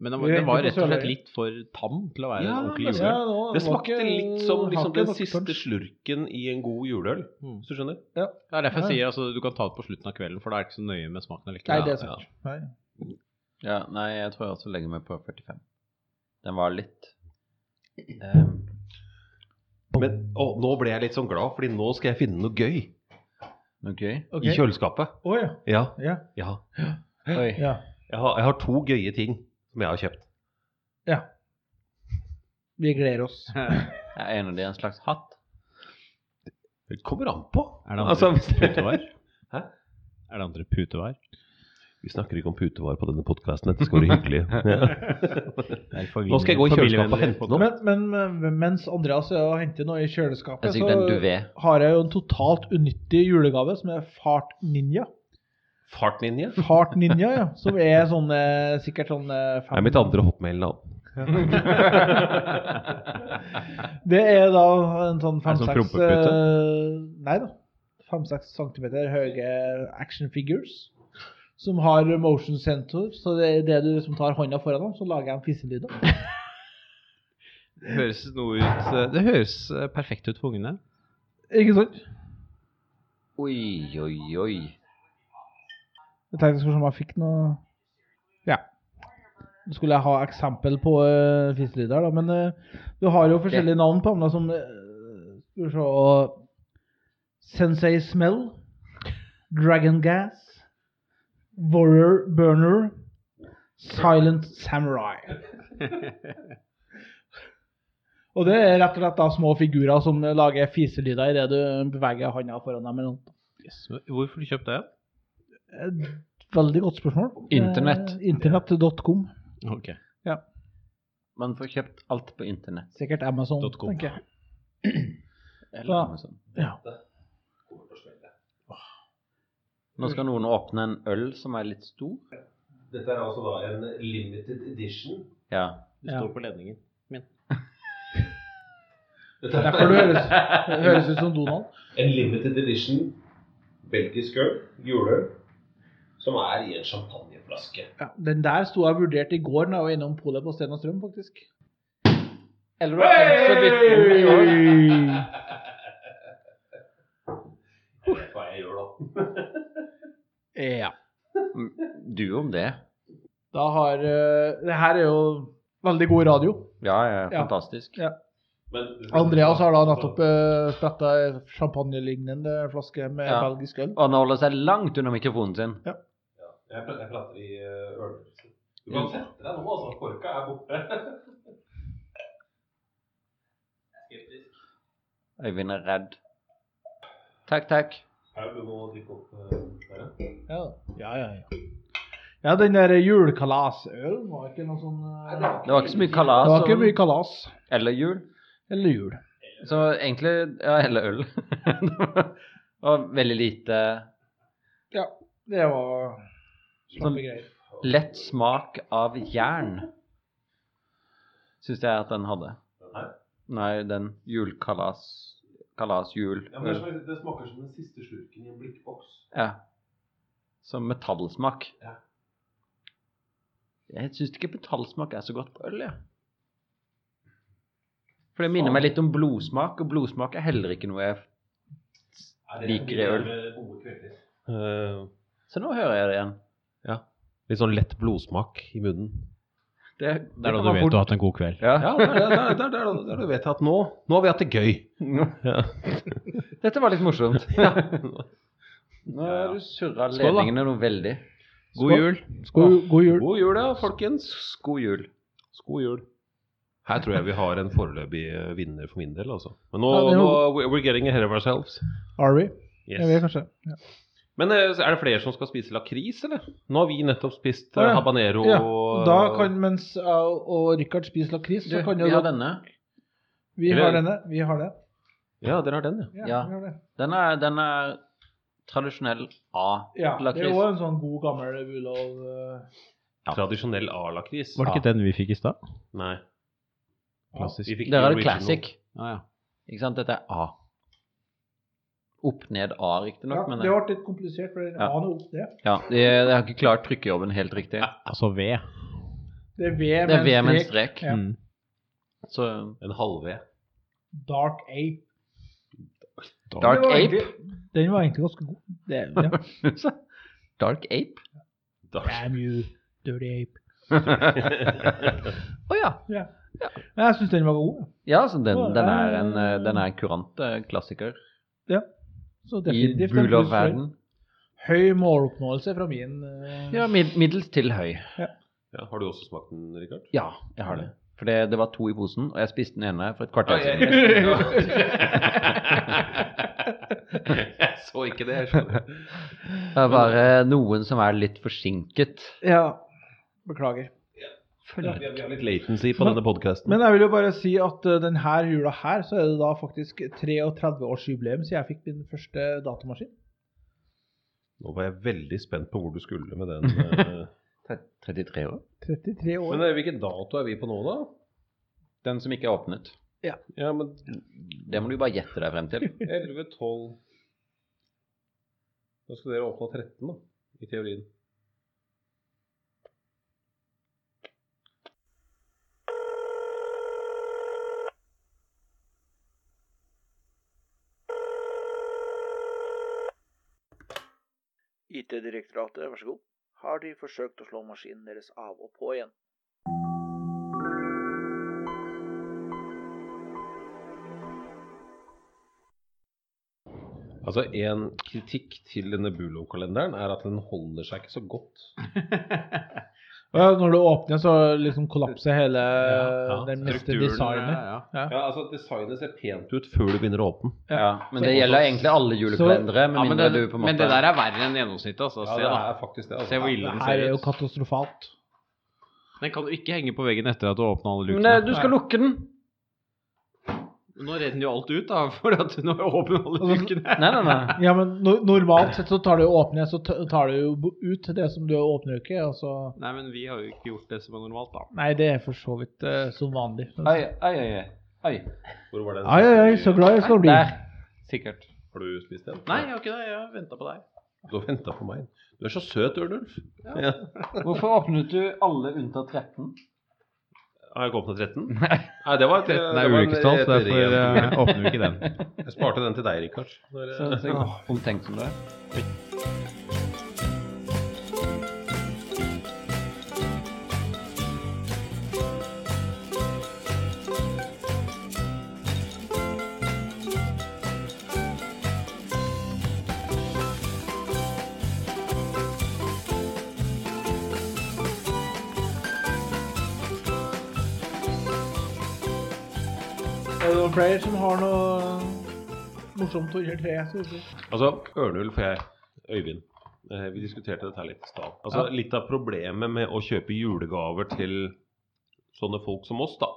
Men den var,
Vi
den var
venter på
rett og slett
Sørøya.
litt for tam til å være
Ja,
en ordentlig
men
jule.
Det smakte litt som liksom, den siste slurken i en god juleøl,
Mm.
hvis du skjønner.
Det er derfor jeg
Ja.
sier altså, du kan ta det på slutten av kvelden, for da er det ikke så nøye med smaken
Nei,
allikevel.
det er
Ja,
sant. Nei.
Ja, nei, jeg tror jeg også legger meg på 45. Den var litt ehm,
Men å, nå ble jeg litt sånn glad, fordi nå skal jeg finne noe gøy
noe gøy.
Ok.
i kjøleskapet.
Å ja.
Ja,
Ja.
ja.
Oi.
ja.
Jeg, har, jeg har to gøye ting som jeg har kjøpt.
Vi gleder oss.
Er en av de en slags hatt?
Det kommer an på.
Er det andre
Altså, hvis-
putevar?
Hæ?
Er det andre putevar?
Vi snakker ikke om putevarer på denne podkasten, dette skal være hyggelig. Nå skal jeg gå i kjøleskapet og hente noe.
Men, men, men mens Andreas er og henter noe i
Jeg
kjøleskapet,
synes den
så
duvet.
har jeg jo en totalt unyttig julegave som er Fart Ninja.
Fartlinje
Fart Ninja, ja. Som er sånn eh, sikkert sånn eh,
er
fem-
mitt andre hotmail-navn.
Det er da en sånn
Er det sånn
5-6
prompepute?
Nei da. 5-6 cm høye action figures som har motion sensor. Så det er det du liksom tar hånda foran dem, så lager de fiselyder.
Det høres noe ut eh, Det høres eh, perfekt ut for ungene.
Ikke sant?
Oi, oi, oi.
Jeg tenkte jeg skulle se om jeg fikk noe Ja. Nå skulle jeg ha eksempel på uh, fiselyder, da, men eh, du har jo forskjellige navn på dem, da, som eh, Skal vi se Sensei Smell, Dragon Gas, Warrior Burner, Silent Samurai. Og det er rett og slett da små figurer som lager fiselyder idet du beveger handa foran dem. eller noe.
Hvorfor har du kjøpt det?
Et veldig godt spørsmål.
Internett.
Eh, Internett.com.
Ok.
Man får kjøpt alt på internett.
Sikkert Amazon,
Dot com.
tenker jeg.
Eller
Ja.
noe sånt.
Ja.
Nå skal noen åpne en øl som er litt stor.
Dette er altså da en limited edition.
Ja.
Det
Ja.
står på ledningen min.
Det
Dette
er Derfor du høres, det høres ut som Donald.
en limited edition belgisk øl, juleøl, som er i en champagneflaske.
Ja, den der sto jeg og vurderte i går når jeg var innom polet på Sten og Strøm, faktisk.
Eller du har tenkt å bytte den i år.
Jeg vet hva jeg gjør da.
Ja.
Mm, Du om det.
Da har eh, Det her er jo veldig god radio.
Ja, ja,
Ja.
fantastisk.
Ja.
Men-
Andreas har da nettopp uh, spretta ei champagnelignende flaske med
Ja.
belgisk øl.
Og han holder seg langt unna mikrofonen sin.
Ja, Jeg pra- jeg prater i eh, ørnelsen. Du kan sette deg nå, altså. Korka er borte.
Øyvind er redd. Takk, takk.
Paul, du må drikke opp eh, der, ja.
Ja, ja, ja. ja. ja den der julekalasølen var ikke noe sånn eh,
Det var ikke så mye
Det
kalas
var ikke
om-
mye kalas
eller jul.
eller jul.
Så egentlig Ja, eller øl. Det var veldig lite
Ja, det var slappe greier.
lett smak av jern. Syns jeg at den hadde.
Den her.
Nei, den julekalas... Kalasjul.
Ja, men det, er som- det smaker som den siste slurken i en blikkboks.
Ja. Som metallsmak.
Ja.
Jeg syns ikke metallsmak er så godt på øl, jeg. For det minner meg litt om blodsmak, og blodsmak er heller ikke noe jeg
Er det
Liker
det
øl.
med gode kvelder?
Eh,
Så nå hører jeg det igjen.
Litt sånn lett blodsmak i munnen.
Det,
Det er da du vet du har hatt en god kveld.
Ja.
Ja, det er det- det er- det er det du vet at nå Nå har vi hatt det gøy. Ja.
Dette var litt morsomt. Nå har du surra
Skål, da.
ledningene noe veldig.
God jul.
God, god jul.
God jul, ja, folkens.
God jul.
God jul. Her tror jeg vi har en foreløpig eh, vinner for min del, altså. Men nå,
Ja, det er jo-
nå we're- We're getting ahead of ourselves.
Are we?
Yes.
Jeg vet kanskje. Ja.
Men eh, er det flere som skal spise lakris, eller? Nå har vi nettopp spist eh,
Å, ja.
habanero
Ja,
og
Da kan mens jeg og Richard spiser lakris,
Du,
så kan jo
vi har
da-
denne.
vi
Eller-
har denne. Vi har det.
Ja, dere har den, ja.
Ja,
Ja.
Vi har det.
Den er, den er tradisjonell
ja det er
A-lakris.
òg en sånn god, gammel Bulov uh,
Ja.
Tradisjonell A-lakris. Ah,
Var det ikke den vi fikk i stad?
Nei.
Klassisk.
Vi fikk
Der er det
original.
classic.
Ja, ja.
Ikke sant? Dette er A. Opp ned A,
ja,
riktignok, men
Det ble litt komplisert, for den
Ja.
aner opp det.
ja, jeg, jeg har ikke klart trykkejobben helt riktig.
Altså ved.
Det er V
Det er V med
med
en strek.
Ja.
Mm.
Så
En halv-V.
Dark Ape. Det
Dark
var
Ape.
egentlig- Den var egentlig ganske god. Det, ja.
Dark Ape?
Damn you, dirty ape.
Å ja.
Men jeg syns den var god. ja.
Ja, så den, den, er en, eh, den er en kurant eh, klassiker
Så
i
definitivt en pluss for den.
Bulov-verden.
Høy måloppnåelse fra min eh,
Ja, mid, middels til høy.
Ja, har du også smakt den, Rikard?
Ja, jeg har det. For det, det var to i posen, og jeg spiste den ene for et kvarter
Nei,
siden.
jeg- Jeg så ikke det. Jeg skjønner.
Det er bare noen som er litt forsinket.
ja. Beklager.
Ja, vi har- vi har litt latency på denne podkasten.
Men jeg vil jo bare si at eh, denne jula her, så er det da faktisk 33-årsjubileum siden jeg fikk min første datamaskin.
Nå var jeg veldig spent på hvor du skulle med den. eh,
33 år?
33 år.
Men eh, hvilken dato er vi på nå, da?
Den som ikke er åpnet.
Ja, men
Det må du bare gjette deg frem til.
11, 12 Da skal dere åpne 13, da. I teorien.
IT-direktoratet, vær så god. Har de forsøkt å slå maskinen deres av og på igjen?
Altså, En kritikk til denne Bulo-kalenderen er at den holder seg ikke så godt.
Og ja, når du åpner, så liksom kollapser hele eh,
Ja, ja.
den neste
Strukturen,
designet.
ja,
Eh, Ja, altså, Designet ser pent ut før du begynner å åpne.
Ja, men det gjelder egentlig alle julekalendere. Med
Ja, men,
mindre
det,
du på en måte
men det der er verre enn gjennomsnittet. Altså.
Ja,
Se,
det
da.
er faktisk det.
Se
Altså.
hvor ille
Det
den
her er
ser
jo
ut.
katastrofalt.
Den kan du ikke henge på veggen etter at du har åpna alle
Men det,
lukene.
du skal lukke den!
Nå renner jo alt ut, da, for at du nå åpner alle
Altså,
lukene.
Nei, nei, nei.
Ja, men no normalt sett så tar du jo åpne, så t- tar du jo b- ut det som du åpner jo ikke. Altså.
Nei, men vi har jo ikke gjort det som er normalt, da.
Nei, det er for så vidt eh, som vanlig.
Oi, oi, oi. oi.
Hvor var den?
Ai, ai, ai, så glad jeg skal bli.
Der. Sikkert.
Har du spist den?
Nei, jeg har ikke det. Jeg har venta på deg.
Du har venta på meg. Du er så søt, Ørnulf. Ja.
Hvorfor åpnet du alle unntatt 13?
Har jeg ikke åpnet 13? Nei, det var et, det
Den er
var en-
ulykkestall,
et
så derfor
rent-
eh, åpner vi ikke den.
Jeg sparte den til deg, Rikard. Når,
Så, så omtenksom du er.
Er det noen flere som har noe morsomt under treet? skal vi si?
Altså, Ørnulf og jeg, Øyvind, eh, vi diskuterte dette her litt i stad. Altså, Litt av problemet med å kjøpe julegaver til sånne folk som oss, da,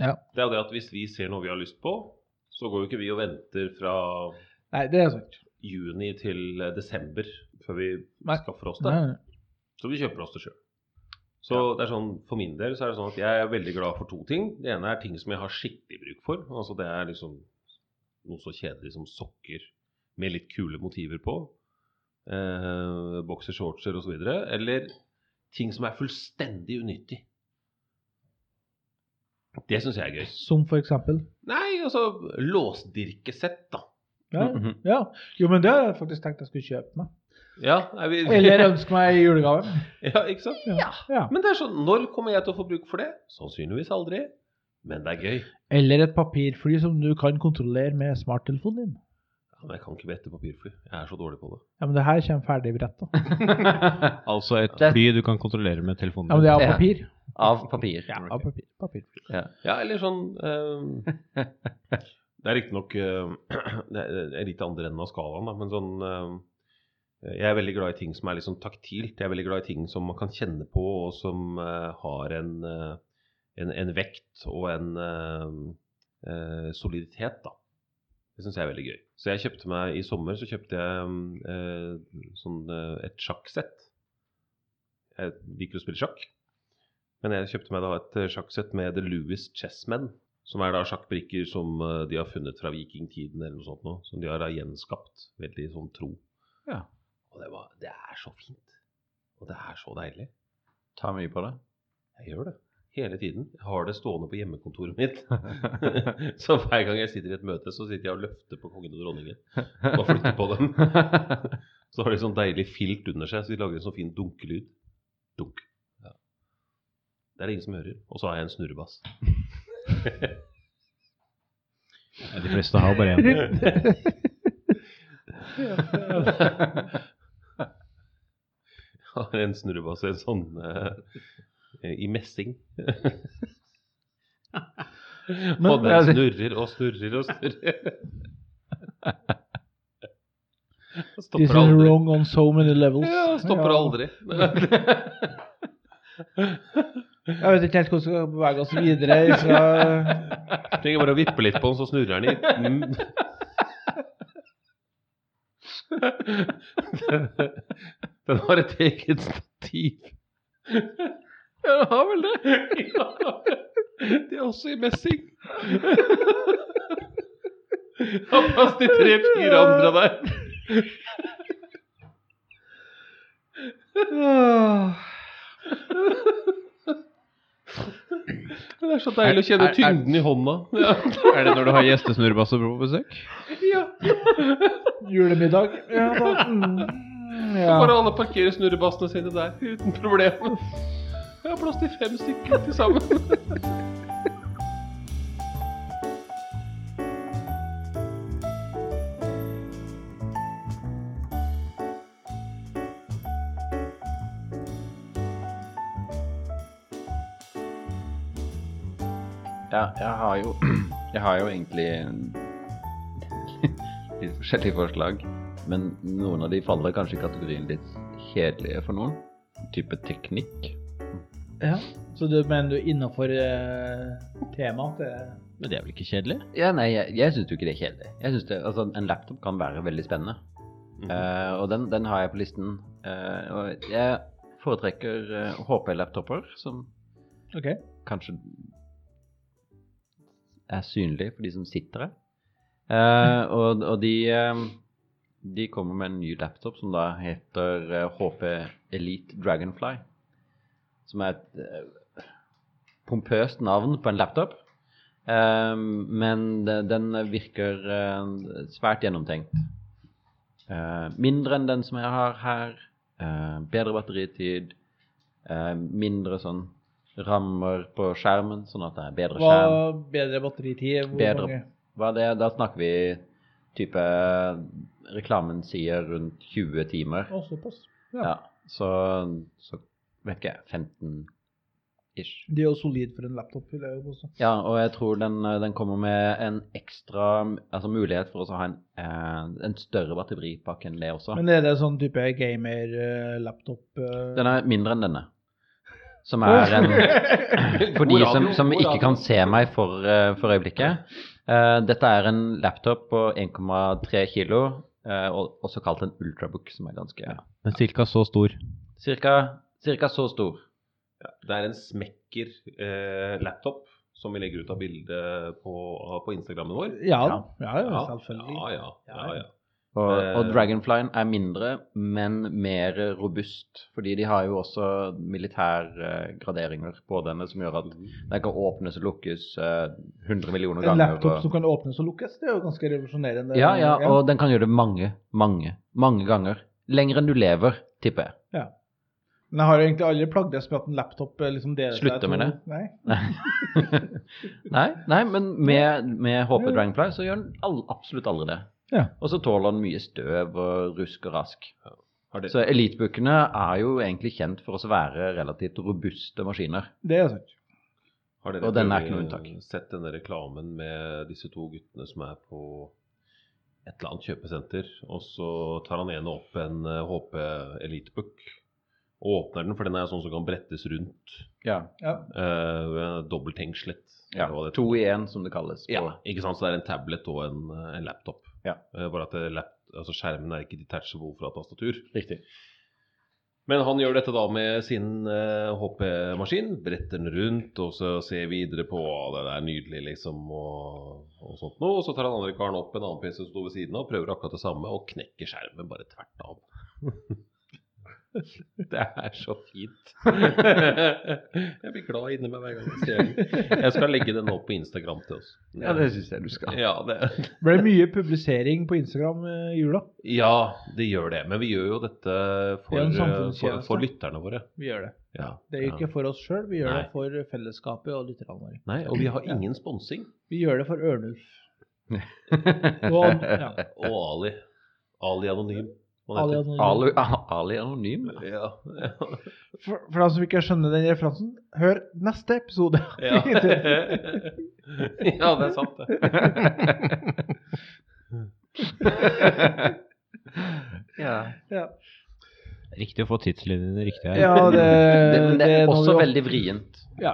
Ja.
det er jo det at hvis vi ser noe vi har lyst på, så går jo ikke vi og venter fra
Nei, det er sant.
juni til eh, desember før vi
Nei.
skaffer oss det.
Nei, nei.
Så vi kjøper oss det sjøl. Så det er sånn, For min del så er det sånn at jeg er veldig glad for to ting. Det ene er ting som jeg har skikkelig bruk for. altså Det er liksom noe så kjedelig som sokker med litt kule motiver på. Eh, Boksershortser osv. Eller ting som er fullstendig unyttig. Det syns jeg er gøy.
Som for eksempel.
Nei, altså låsdirkesett, da. Mm-hmm.
Ja, ja. Jo, men det har jeg faktisk tenkt jeg skulle kjøpe meg.
Ja, er vi,
Eller ønske meg i julegave.
ja, ikke sant?
Ja.
Men det er sånn, når kommer jeg til å få bruk for det? Sannsynligvis aldri. Men det er gøy.
Eller et papirfly som du kan kontrollere med smarttelefonen din.
Ja, men jeg kan ikke bette papirfly. Jeg er så dårlig på det.
Ja, men det her kommer ferdig bretta.
Altså et
Det-
fly du kan kontrollere med telefonen.
Ja, men det er av
Ja.
papir.
Av papir.
Ja, av papir. Papirfly.
Ja, eller sånn eh, Det er riktignok uh, Det er litt andre enden av skalaen, da, men sånn eh, Jeg er veldig glad i ting som er litt sånn taktilt. Jeg er veldig glad i ting som man kan kjenne på, og som eh, har en, eh, en, en vekt og en eh, eh, soliditet, da. Det syns jeg er veldig gøy. Så jeg kjøpte meg i sommer så kjøpte jeg eh, sånn, eh, et sjakksett. Jeg liker å spille sjakk. Men jeg kjøpte meg da et eh, sjakksett med The Louis Chessmen. Som er da sjakkbrikker som eh, de har funnet fra vikingtiden eller noe sånt nå, Som de har da gjenskapt. Veldig sånn tro.
Ja.
Og det, var, det er så fint. Og det er så deilig.
Ta mye på det.
Jeg gjør det. Hele tiden. Jeg har det stående på hjemmekontoret mitt. så hver gang jeg sitter i et møte, så sitter jeg og løfter på kongen og dronningen. Bare flytter på dem. så har de sånn deilig filt under seg, så de lager en sånn fin dunkelyd. Dunk. Ja. Det er det ingen som hører. Og så har jeg en snurrebass.
De fleste har bare én.
har en snurrebass en sånn eh, i messing. og
altså,
den snurrer og snurrer og snurrer.
This
Stopper
is
aldri.
wrong on so many levels.
Ja, stopper
Ja.
aldri.
Jeg vet ikke helt hvordan vi skal bevege oss videre fra
Trenger bare å vippe litt på den, så snurrer den i. Mm. Den har et eget stativ. Ja, det har vel det. De er også i messing. Har plass til tre-fire andre der. Det er så deilig å kjenne
Er- er- er-
tyngden i hånda. Ja.
Er det når du har gjestesnurrbasser på besøk?
Julemiddag. Ja, da. Mm,
Bare
ja.
alle parkerer snurrebassene sine der uten problem. Jeg har plass til fem stykker til sammen.
Ja, jeg har jo Jeg har jo egentlig en- litt forskjellige forslag. Men noen av de faller kanskje i kategorien litt kjedelige for noen. Type teknikk.
ja. Så du mener du innafor eh, temaet? det-
Men det er vel ikke kjedelig?
Ja, nei, jeg, jeg syns jo ikke det er kjedelig. Jeg synes det, altså, En laptop kan være veldig spennende. Eh, og den, den har jeg på listen. Eh, og jeg foretrekker eh, HP-laptoper, som
Ok.
kanskje er synlige for de som sitter her. Eh, og, og de, eh, de kommer med en ny laptop som da heter eh, HP Elite Dragonfly. Som er et eh, pompøst navn på en laptop. Eh, men de- den virker eh, svært gjennomtenkt. Eh, mindre enn den som jeg har her. eh, bedre batteritid. eh, mindre sånn rammer på skjermen, sånn at det er bedre skjerm.
Hva bedre batteritid? Hvor
Bedre.
mange?
Hva er det? Da snakker vi type Reklamen sier rundt 20 timer.
Å, såpass.
Ja. så, så vet ikke jeg 15 ish.
Det er jo solid for en laptop. vil jeg jo påstå.
Ja, og jeg tror den, eh, den kommer med en ekstra altså mulighet for oss å ha en, eh, en større batteripakke enn det også.
Men er det sånn type eh, gamer-laptop
Den er mindre enn denne. Som er en For de som, som ikke kan se meg for, eh, for øyeblikket. Eh, dette er en laptop på 1,3 kilo, eh, og, også kalt en ultrabook, som er ganske
Men cirka så stor.
Cirka, cirka så stor.
Det er en smekker eh, laptop som vi legger ut av bildet på, på Instagrammen vår.
Ja, ja, ja, selvfølgelig.
Ja, ja, ja, ja.
Og, og
Eh.
Dragonflyen er mindre, men mer robust. Fordi de har jo også militærgraderinger på denne som gjør at
Mm.
den kan åpnes og lukkes eh, 100 millioner
En
ganger.
laptop
og-
som kan åpnes og lukkes, det er jo ganske revolusjonerende.
Ja, ja, og den kan gjøre det mange, mange, mange ganger. Lenger enn du lever, tipper jeg.
Men jeg har jo egentlig aldri plagdes med at en laptop eh, liksom deler
Slutter
seg i
med
to.
det.
Nei.
nei, nei, men med, med HP Dragonfly så gjør den all, absolutt aldri det.
Ja.
Og så tåler den mye støv og rusk og rask.
Har det-
Så elitebukkene er jo egentlig kjent for å være relativt robuste maskiner.
Det er sant.
Har dere
Og denne er ikke
prøvd-
noe unntak.
sett denne reklamen med disse to guttene som er på et eller annet kjøpesenter, og så tar han ene opp en eh, HP Elitebook og åpner den, for den er sånn som kan brettes rundt.
Ja.
Ja.
Uh, Dobbelthengslet. eller hva det
To i én, som det kalles. på-
Ja, ikke sant? Så det er en tablet og en, eh, en laptop.
Ja.
Eh, Bare at det lap, altså skjermen er ikke detachable fra tastatur.
Riktig.
Men han gjør dette da med sin eh, HP-maskin. Bretter den rundt og så ser videre på «Å, det er nydelig, liksom, og, og sånt noe. Og så tar han andre karen opp en annen PC som sto ved siden av, og prøver akkurat det samme, og knekker skjermen bare tvert av. Det er så fint. Jeg blir glad inni meg hver gang jeg ser den. Jeg skal legge den opp på Instagram til oss.
Ja, det syns jeg du skal.
Ja, det,
Ble mye publisering på Instagram eh, i jula.
ja, det gjør det. Men vi gjør jo
Det
dette
er en
for, for,
samfunnstjeneste.
for lytterne våre.
Vi gjør det.
Ja,
Det er jo ikke for oss sjøl, vi gjør
Nei.
det for fellesskapet og lytterne våre.
Nei, og vi har ingen sponsing.
Vi gjør det for Ørnulf. Og, ja,
Og Ali. Ali Anonym. hva han
Ali
heter.
Anonym.
Ali, Ali Anonym?
Ja, ja.
For, for dem som ikke skjønner den referansen, hør neste episode.
Ja. ja, det er sant, det.
Ja.
ja.
Riktig å få tidslinjene riktig her.
ja, Eh, det,
det, men det er
noe
også
vi-
veldig vrient.
Ja.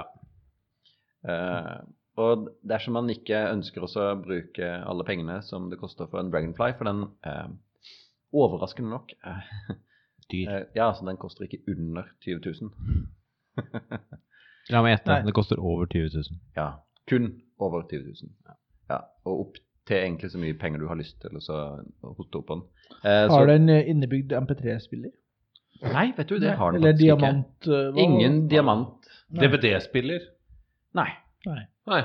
Eh, og dersom man ikke ønsker også å bruke alle pengene som det koster for en Dragonfly, for den eh, overraskende nok eh,
Dyr.
eh, Ja, altså den koster ikke under 20 000.
La meg gjette.
Nei.
Det koster over 20 000.
Ja. Kun over 20 000. Ja. Og opp til egentlig så mye penger du har lyst til å så hoste opp på den. Eh, så-
Har den eh, innebygd MP3-spiller?
Nei, vet du, det har den
Eller
faktisk
diamant? eh,
ikke.
hva-
Ingen diamant.
Nei.
DVD-spiller?
Nei.
Nei.
Nei.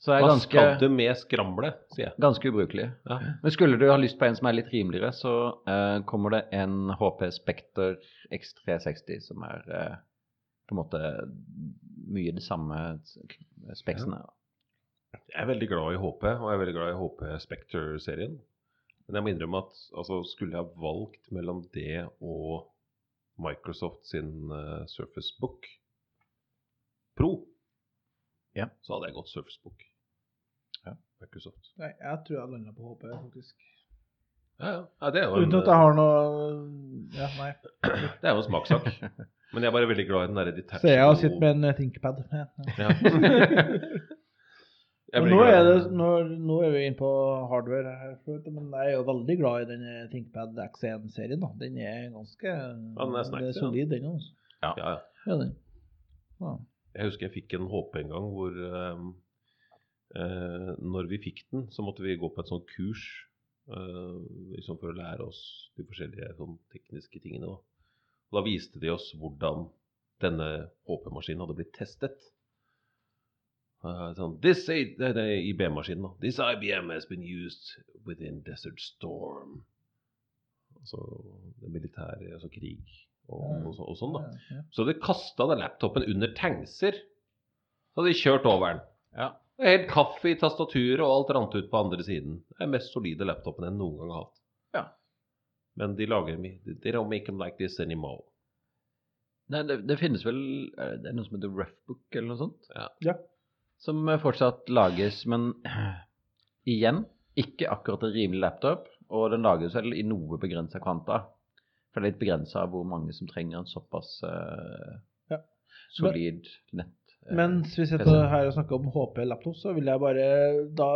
Så det er
Hva
ganske,
skal det med skramle, sier jeg.
ganske ubrukelig.
Ja.
Men skulle du ha lyst på en som er litt rimeligere, så eh, kommer det en HP Spekter X360 som er eh, på en måte mye det samme speksene.
Jeg er veldig glad i HP, og jeg er veldig glad i HP Spectre-serien. Men jeg må innrømme at altså, skulle jeg valgt mellom det og Microsoft sin eh, Surface Book Pro,
Ja.
så hadde jeg gått Surface Book. Microsoft.
Nei, jeg tror jeg landa på HP, faktisk.
Ja, ja. Nei, det er jo en,
Uten at jeg
eh,
har noe Ja, nei.
det er jo en smakssak. Men jeg er bare veldig glad i den derre
Så
detachable
jeg har sittet med en eh, ThinkPad. Ja, ja.
Ja. Jeg
Men
blir
nå,
glad i
er det,
den.
nå, nå er vi inne på hardware, her, for vet du, men jeg er jo veldig glad i den eh, ThinkPad X1-serien. da. Den er ganske
den er snacks,
det
ja.
er solid, den også.
Ja, ja.
Ja, den. Ja.
Jeg husker jeg fikk en HP en gang hvor eh, eh, Når vi fikk den, så måtte vi gå på et sånt kurs eh, liksom for å lære oss de forskjellige sånn, tekniske tingene. Da. Og da viste de oss hvordan denne HP-maskinen hadde blitt testet. Eh, sånn, This A- det er IBM-maskinen, da. This IBM has been used within Desert Storm. Altså det militære, altså krig og, og, så- og sånn, da.
Ja,
Så hadde de kasta den laptopen under tankser. Så hadde de kjørt over den. Og Helt kaffe i tastaturet, og alt rant ut på andre siden. Det er den mest solide laptopen jeg noen gang har hatt.
Ja.
Men de lager dem i- They don't make them like this anymore.
Nei, det, det finnes vel er Det er noe som heter Roughbook eller noe sånt?
Ja.
Ja.
Som eh, fortsatt lages, men igjen ikke akkurat en rimelig laptop. Og den lages vel i noe begrensa kvanta. For det er litt begrensa av hvor mange som trenger en såpass eh,
Ja.
solid nett. eh,
Mens vi
PC.
sitter her og snakker om HP laptop, så vil jeg bare da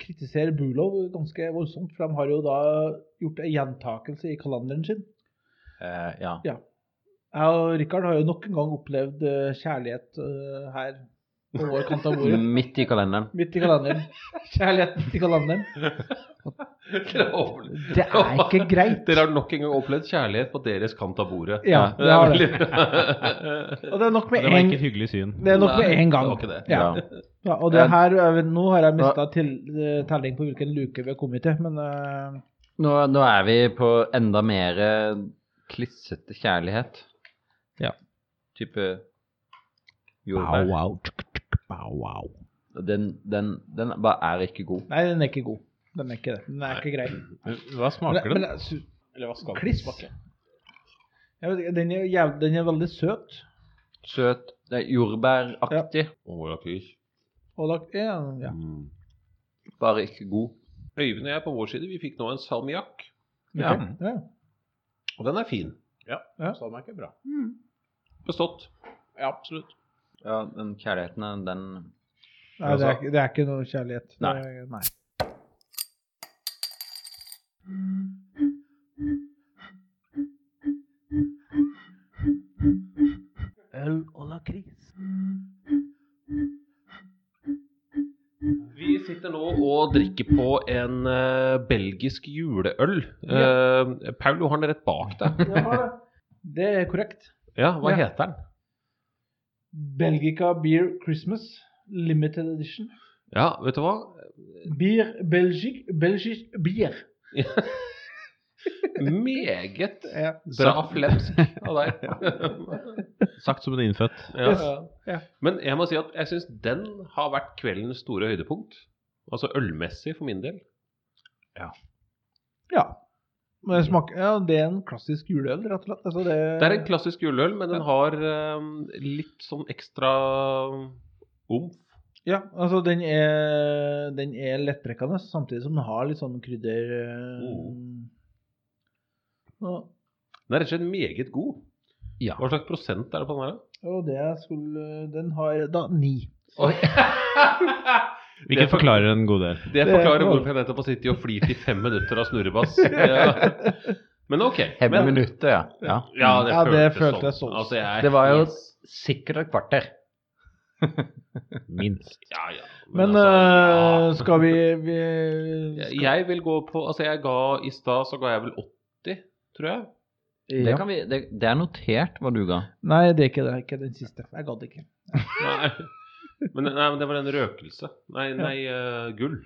kritisere Bulov ganske voldsomt. For de har jo da gjort en gjentakelse i kalenderen sin.
eh, ja.
Jeg og Rikard har jo nok en gang opplevd eh, kjærlighet eh, her på vår kant av bordet.
Midt i kalenderen.
Midt i kalenderen. Kjærlighet midt i kalenderen.
Dere har-
Det er ikke greit.
Dere har nok en gang opplevd kjærlighet på deres kant av bordet.
Ja,
det
det har
er
det.
veldig
Og det er nok med
Det var
en,
ikke et hyggelig syn.
det er nok med
Nei,
en gang.
det var ikke det.
Ja.
Ja.
Ja, og det her, jeg vet- Nå har jeg mista telling på hvilken luke vi har kommet til, men eh,
Nå, nå er vi på enda mer eh, klissete kjærlighet.
Ja.
Type
Bow,
jordbær.
wow. tsk, tsk, Bow, wow.
Den, den, den bare er ikke god.
Nei, den er ikke god. Den er ikke det. Den er ikke grei.
Hva smaker den?
jeg sy-
Eller hva skal
kliss. Jeg vet ikke, den, er jæv, den er veldig søt.
Søt, det er jordbæraktig,
Og da, ja, ja.
Mm.
bare ikke god.
Øyvind og jeg på vår side, vi fikk nå en salmiakk.
Ja.
Ja.
Ja.
Og den er fin.
Ja. Mm.
Smaker bra.
Bestått.
Ja, absolutt.
Ja, den kjærligheten, den
Nei, det er, ikke- det er ikke noe kjærlighet. Det
Nei.
er- Nei. Øl og lakris.
Vi sitter nå og drikker på en eh, belgisk juleøl. Eh, Paul, du har den rett bak deg.
Det er korrekt.
Ja, hva
Ja.
heter den?
Belgica Beer Christmas Limited Edition.
Ja, vet du hva?
Beer Belgique Belgisk bier.
Meget
Ja.
bra flemsk av deg.
Sagt som en innfødt.
Ja.
Ja.
Men jeg må si at jeg syns den har vært kveldens store høydepunkt. Altså ølmessig, for min del.
ja. Men det, smaker, ja, det er en klassisk juleøl, rett og slett. Altså, det,
Det er en klassisk juleøl, men den har eh, litt sånn ekstra eh, omf.
ja, altså den er, den er lettdrikkende, samtidig som den har litt sånn krydder
Mm.
eh, og-
Den er rett og slett meget god.
Ja.
Hva slags prosent er det på den her? da?
Og det skulle Den har da ni.
Det
Hvilket
for-
forklarer en god del.
Det
Det
forklarer
er bra.
hvorfor jeg nettopp har sittet og flirt i fem minutter av snurrebass. Ja. Men ok.
Hemme
Men,
minuttet, ja. ja.
ja, det
Ja, det
føltes
føltes
sånn.
sånn.
Altså, jeg er
Det var jo
helt
sikkert et kvarter.
Minst.
Ja, ja.
Men
altså,
eh, skal vi, vi
ja. Jeg vil gå på Altså, jeg ga i stad så ga jeg vel 80, tror jeg.
Det,
ja.
kan vi, det, det er notert hva du ga.
Nei, det er ikke det. Ikke den siste. Jeg gadd ikke.
Nei. Men, nei, men det var en røkelse. Nei, nei eh, gull.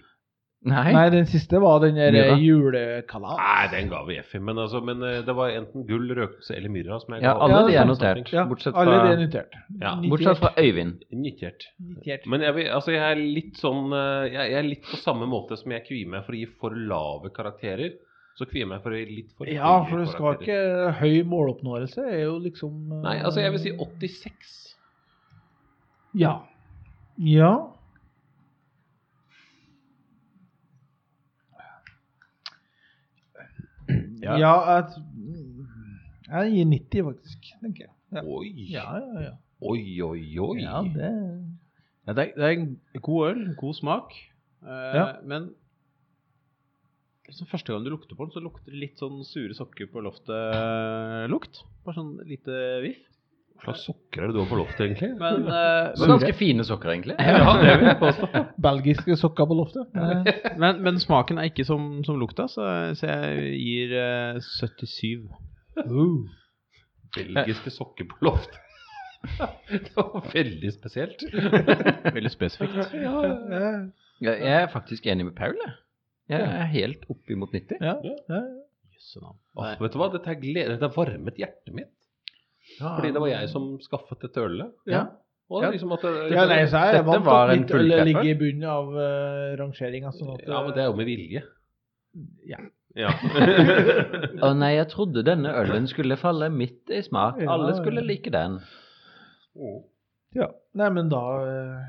Nei.
Nei, den siste var den der
Myra.
julekalas.
Nei, den ga vi F i, men, altså, men eh, det var enten gull, røkelse eller myrra. som jeg
Ja,
ga.
alle
de er
notert.
Ja,
bortsett
alle
fra-
de er notert.
Ja,
Nitert.
Bortsett fra Øyvind.
Nitert.
Nitert.
Men jeg, vil- altså, jeg er litt sånn eh, jeg, jeg er litt på samme måte som jeg kvier meg for å gi for lave karakterer. Så kvier jeg meg for å gi litt for høye
Ja, for du skal
karakterer.
ikke Høy måloppnåelse er jo liksom eh,
Nei, altså, jeg vil si 86.
Ja. Ja. Ja, jeg, t- jeg gir 90, faktisk. tenker jeg. Ja.
Oi,
Ja, ja, ja.
oi, oi. oi.
ja det,
Ja, det, er, det er en god øl, god smak, eh,
Ja.
men liksom første gang du lukter på den, så lukter det litt sånn sure sokker på loftet-lukt. Bare sånn lite viff.
Hva slags sokker er det du har på loftet, egentlig?
Men, eh,
Så
men,
ganske fine sokker, egentlig.
Ja, det vil jeg påstå.
Belgiske sokker på loftet. Eh,
men, men smaken er ikke som, som lukta, så, så jeg gir eh, 77.
Belgiske sokker på loft. Det var veldig spesielt.
Veldig spesifikt.
eh,
Ja, Jeg er faktisk enig med Paul. Jeg, jeg er helt oppimot 90.
Ja. ja.
Jøsse navn.
Åh, vet du hva, dette, er glede, dette varmet hjertet mitt. Fordi det var jeg som skaffet dette ølet.
Ja.
Og det er liksom at det,
Ja, nei, så er jeg
Dette
vant til at
var en
mitt øl
fulltreffer.
ligger i bunnen av uh, rangeringa. Sånn at,
ja, men det er jo med vilje.
Ja.
Ja.
Å nei, jeg trodde denne ølen skulle falle midt i smak.
Ja.
Alle skulle like den.
Oh.
ja. Nei, men da eh,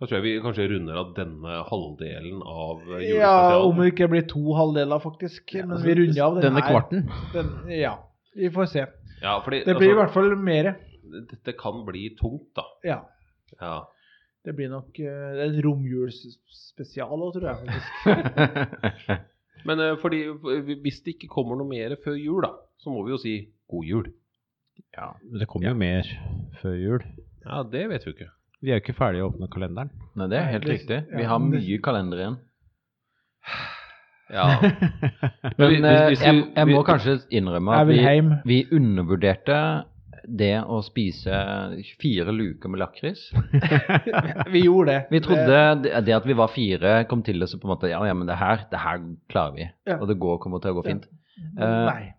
Da tror jeg vi kanskje runder av denne halvdelen av julespesialen.
Ja, om det ikke blir to halvdeler, faktisk.
altså,
men vi runder av den
Denne
her.
kvarten.
Den, ja. Vi får se.
Ja, fordi,
Det blir i
altså,
hvert fall mere.
Dette kan bli tungt, da.
Ja.
Ja.
Det blir nok eh, en romjulsspesial òg, tror jeg. faktisk.
Men eh, fordi, hvis det ikke kommer noe mer før jul, da, så må vi jo si god jul.
Ja, men det kommer jo mer før jul.
Ja, det vet vi jo ikke.
Vi er jo ikke ferdige å åpne kalenderen.
Nei, det er helt
Nei, det-
riktig. Vi
ja,
har
men det-
mye kalender igjen.
Ja,
Men
hvis-
eh,
hvis vi-
jeg, jeg må
vi-
kanskje innrømme
Jeg
at
vil
vi,
hjem.
vi undervurderte det å spise fire luker med lakris.
Vi gjorde det.
Vi trodde det det at vi var fire, kom til oss på en måte Ja, ja, men det her, det her klarer vi.
Ja.
Og det går, kommer til å gå
Ja.
fint.
Det-
eh,
Nei.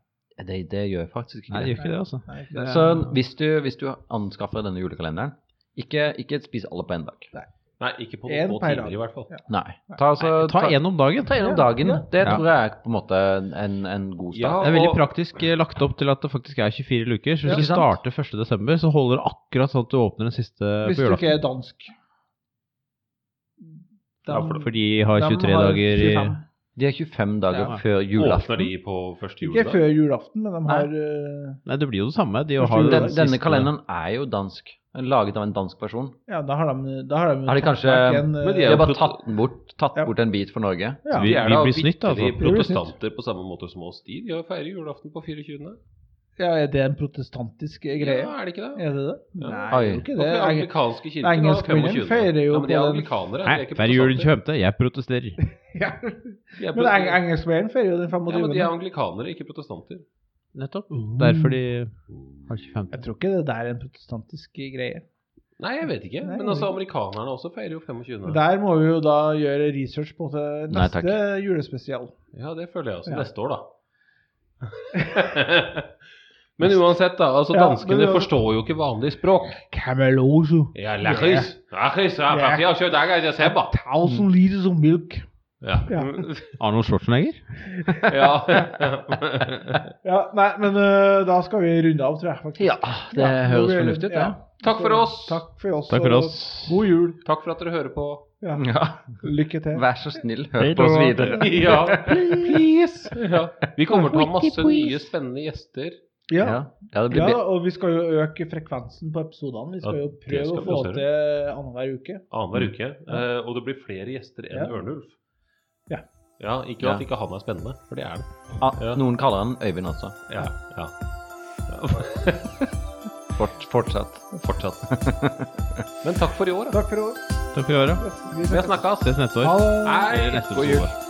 Det, det gjør faktisk ikke
Nei, det
det.
gjør ikke det, altså.
nei ikke
Det-
det.
Så hvis du, hvis du anskaffer denne julekalenderen, ikke, ikke spis alle på én dag.
Nei, ikke på
En
noen få
per
timer
dag.
i hvert fall.
Ja.
Nei. Ta, altså,
Ta én om dagen.
ta en om dagen.
Ja,
Det
Ja.
tror jeg er på en måte en, en
Ja,
god start.
Det er veldig
og-
praktisk eh, lagt opp til at det faktisk er 24 luker. Så
Ja,
hvis du
ikke sant?
starter 1.12., så holder det akkurat sånn at du åpner den siste
Hvis
på
du ikke
julaften.
er dansk.
Ja, for,
Dem-
for de har
dem
23
har
dager i
25.
De er 25 dager
Ja.
før julaften.
Åpner de på første
Ikke
juledag?
før julaften, men de har eh,
Nei, det blir jo det samme. De
Første
har jo
Den,
den
denne
siste-
kalenderen er jo dansk. Laget av en dansk person.
Ja, da har de, da har de,
Har de kanskje-
tatt vekk en,
Men de
De
eh,
er jo
har bare
proto-
tatt bort, tatt
Ja.
bort en bit for Norge.
ja.
Vi-
De er da
blir snytt, altså.
vitterlig
Vi
blir
protestanter på samme måte som oss. De, de har feirer julaften på 24.
ja, er det en protestantisk greie?
Ja, er det ikke det?
Er det det?
Ja.
Nei, det
Oi.
er jo ikke
Hvorfor
det.
er
Jeg-
amerikanske kirker da,
engelskmennene
25.
feirer jo
ja, men de
på
er
den-
amerikanere.
Nei,
de er ikke
hver jul den
protestanter.
25. Jeg protesterer.
Ja.
De
Men
er pro-
eng engelskmennene feirer jo den
ja, men
25.
de er anglikanere, ikke protestanter.
Nettopp.
Mm.
Derfor de har 25.
Jeg tror ikke det der er en protestantisk greie.
Nei, jeg vet ikke.
Nei, jeg
Men altså,
vet
amerikanerne også feirer jo 25.
Der må vi jo da gjøre research på det
Nei,
neste julespesial.
Ja, det føler jeg også.
Ja.
Neste år, da. men uansett, da. Altså,
Ja,
danskene
men uansett-
forstår jo ikke vanlig språk.
Cameloso.
Ja, lakris. Lakris, ja,
Ja.
papir, kjøtt, egg, egg, seppa.
Thousand liters of milk. Ja.
Ja.
Arnold Schwarzenegger?
ja.
Ja, nei, men øh, da skal vi runde av, tror jeg. faktisk.
Ja, det
Ja, nå
høres
blir-
fornuftig ut, det.
ja.
Takk for oss.
Takk for oss.
Takk for
og
oss.
God jul.
Takk for at dere hører på.
Ja.
Ja.
Lykke til.
Vær så snill, hør på oss videre.
Ja, please. Ja. Vi kommer til å ha masse nye spennende gjester.
Ja.
Ja, ja det blir
ja,
bra.
og vi skal jo øke frekvensen på episodene. Vi skal
Ja,
jo
det
prøve
skal
å
vi
få
også gjøre.
til annenhver uke.
annenhver uke. eh, Og det blir flere gjester enn
Ja.
Ørnulf.
Ja.
Ja, ikke
Ja.
at ikke han er spennende, for det er det.
Ah, noen kaller han Øyvind også.
Ja. ja.
Fort, fortsatt.
Fortsatt. Men takk for i år, da.
Takk for i år.
Takk for i år. ja.
Vi
Vi
snakkes.
snakkes.
Ses neste år.
Ha det.
Eller neste
god jul.
episode.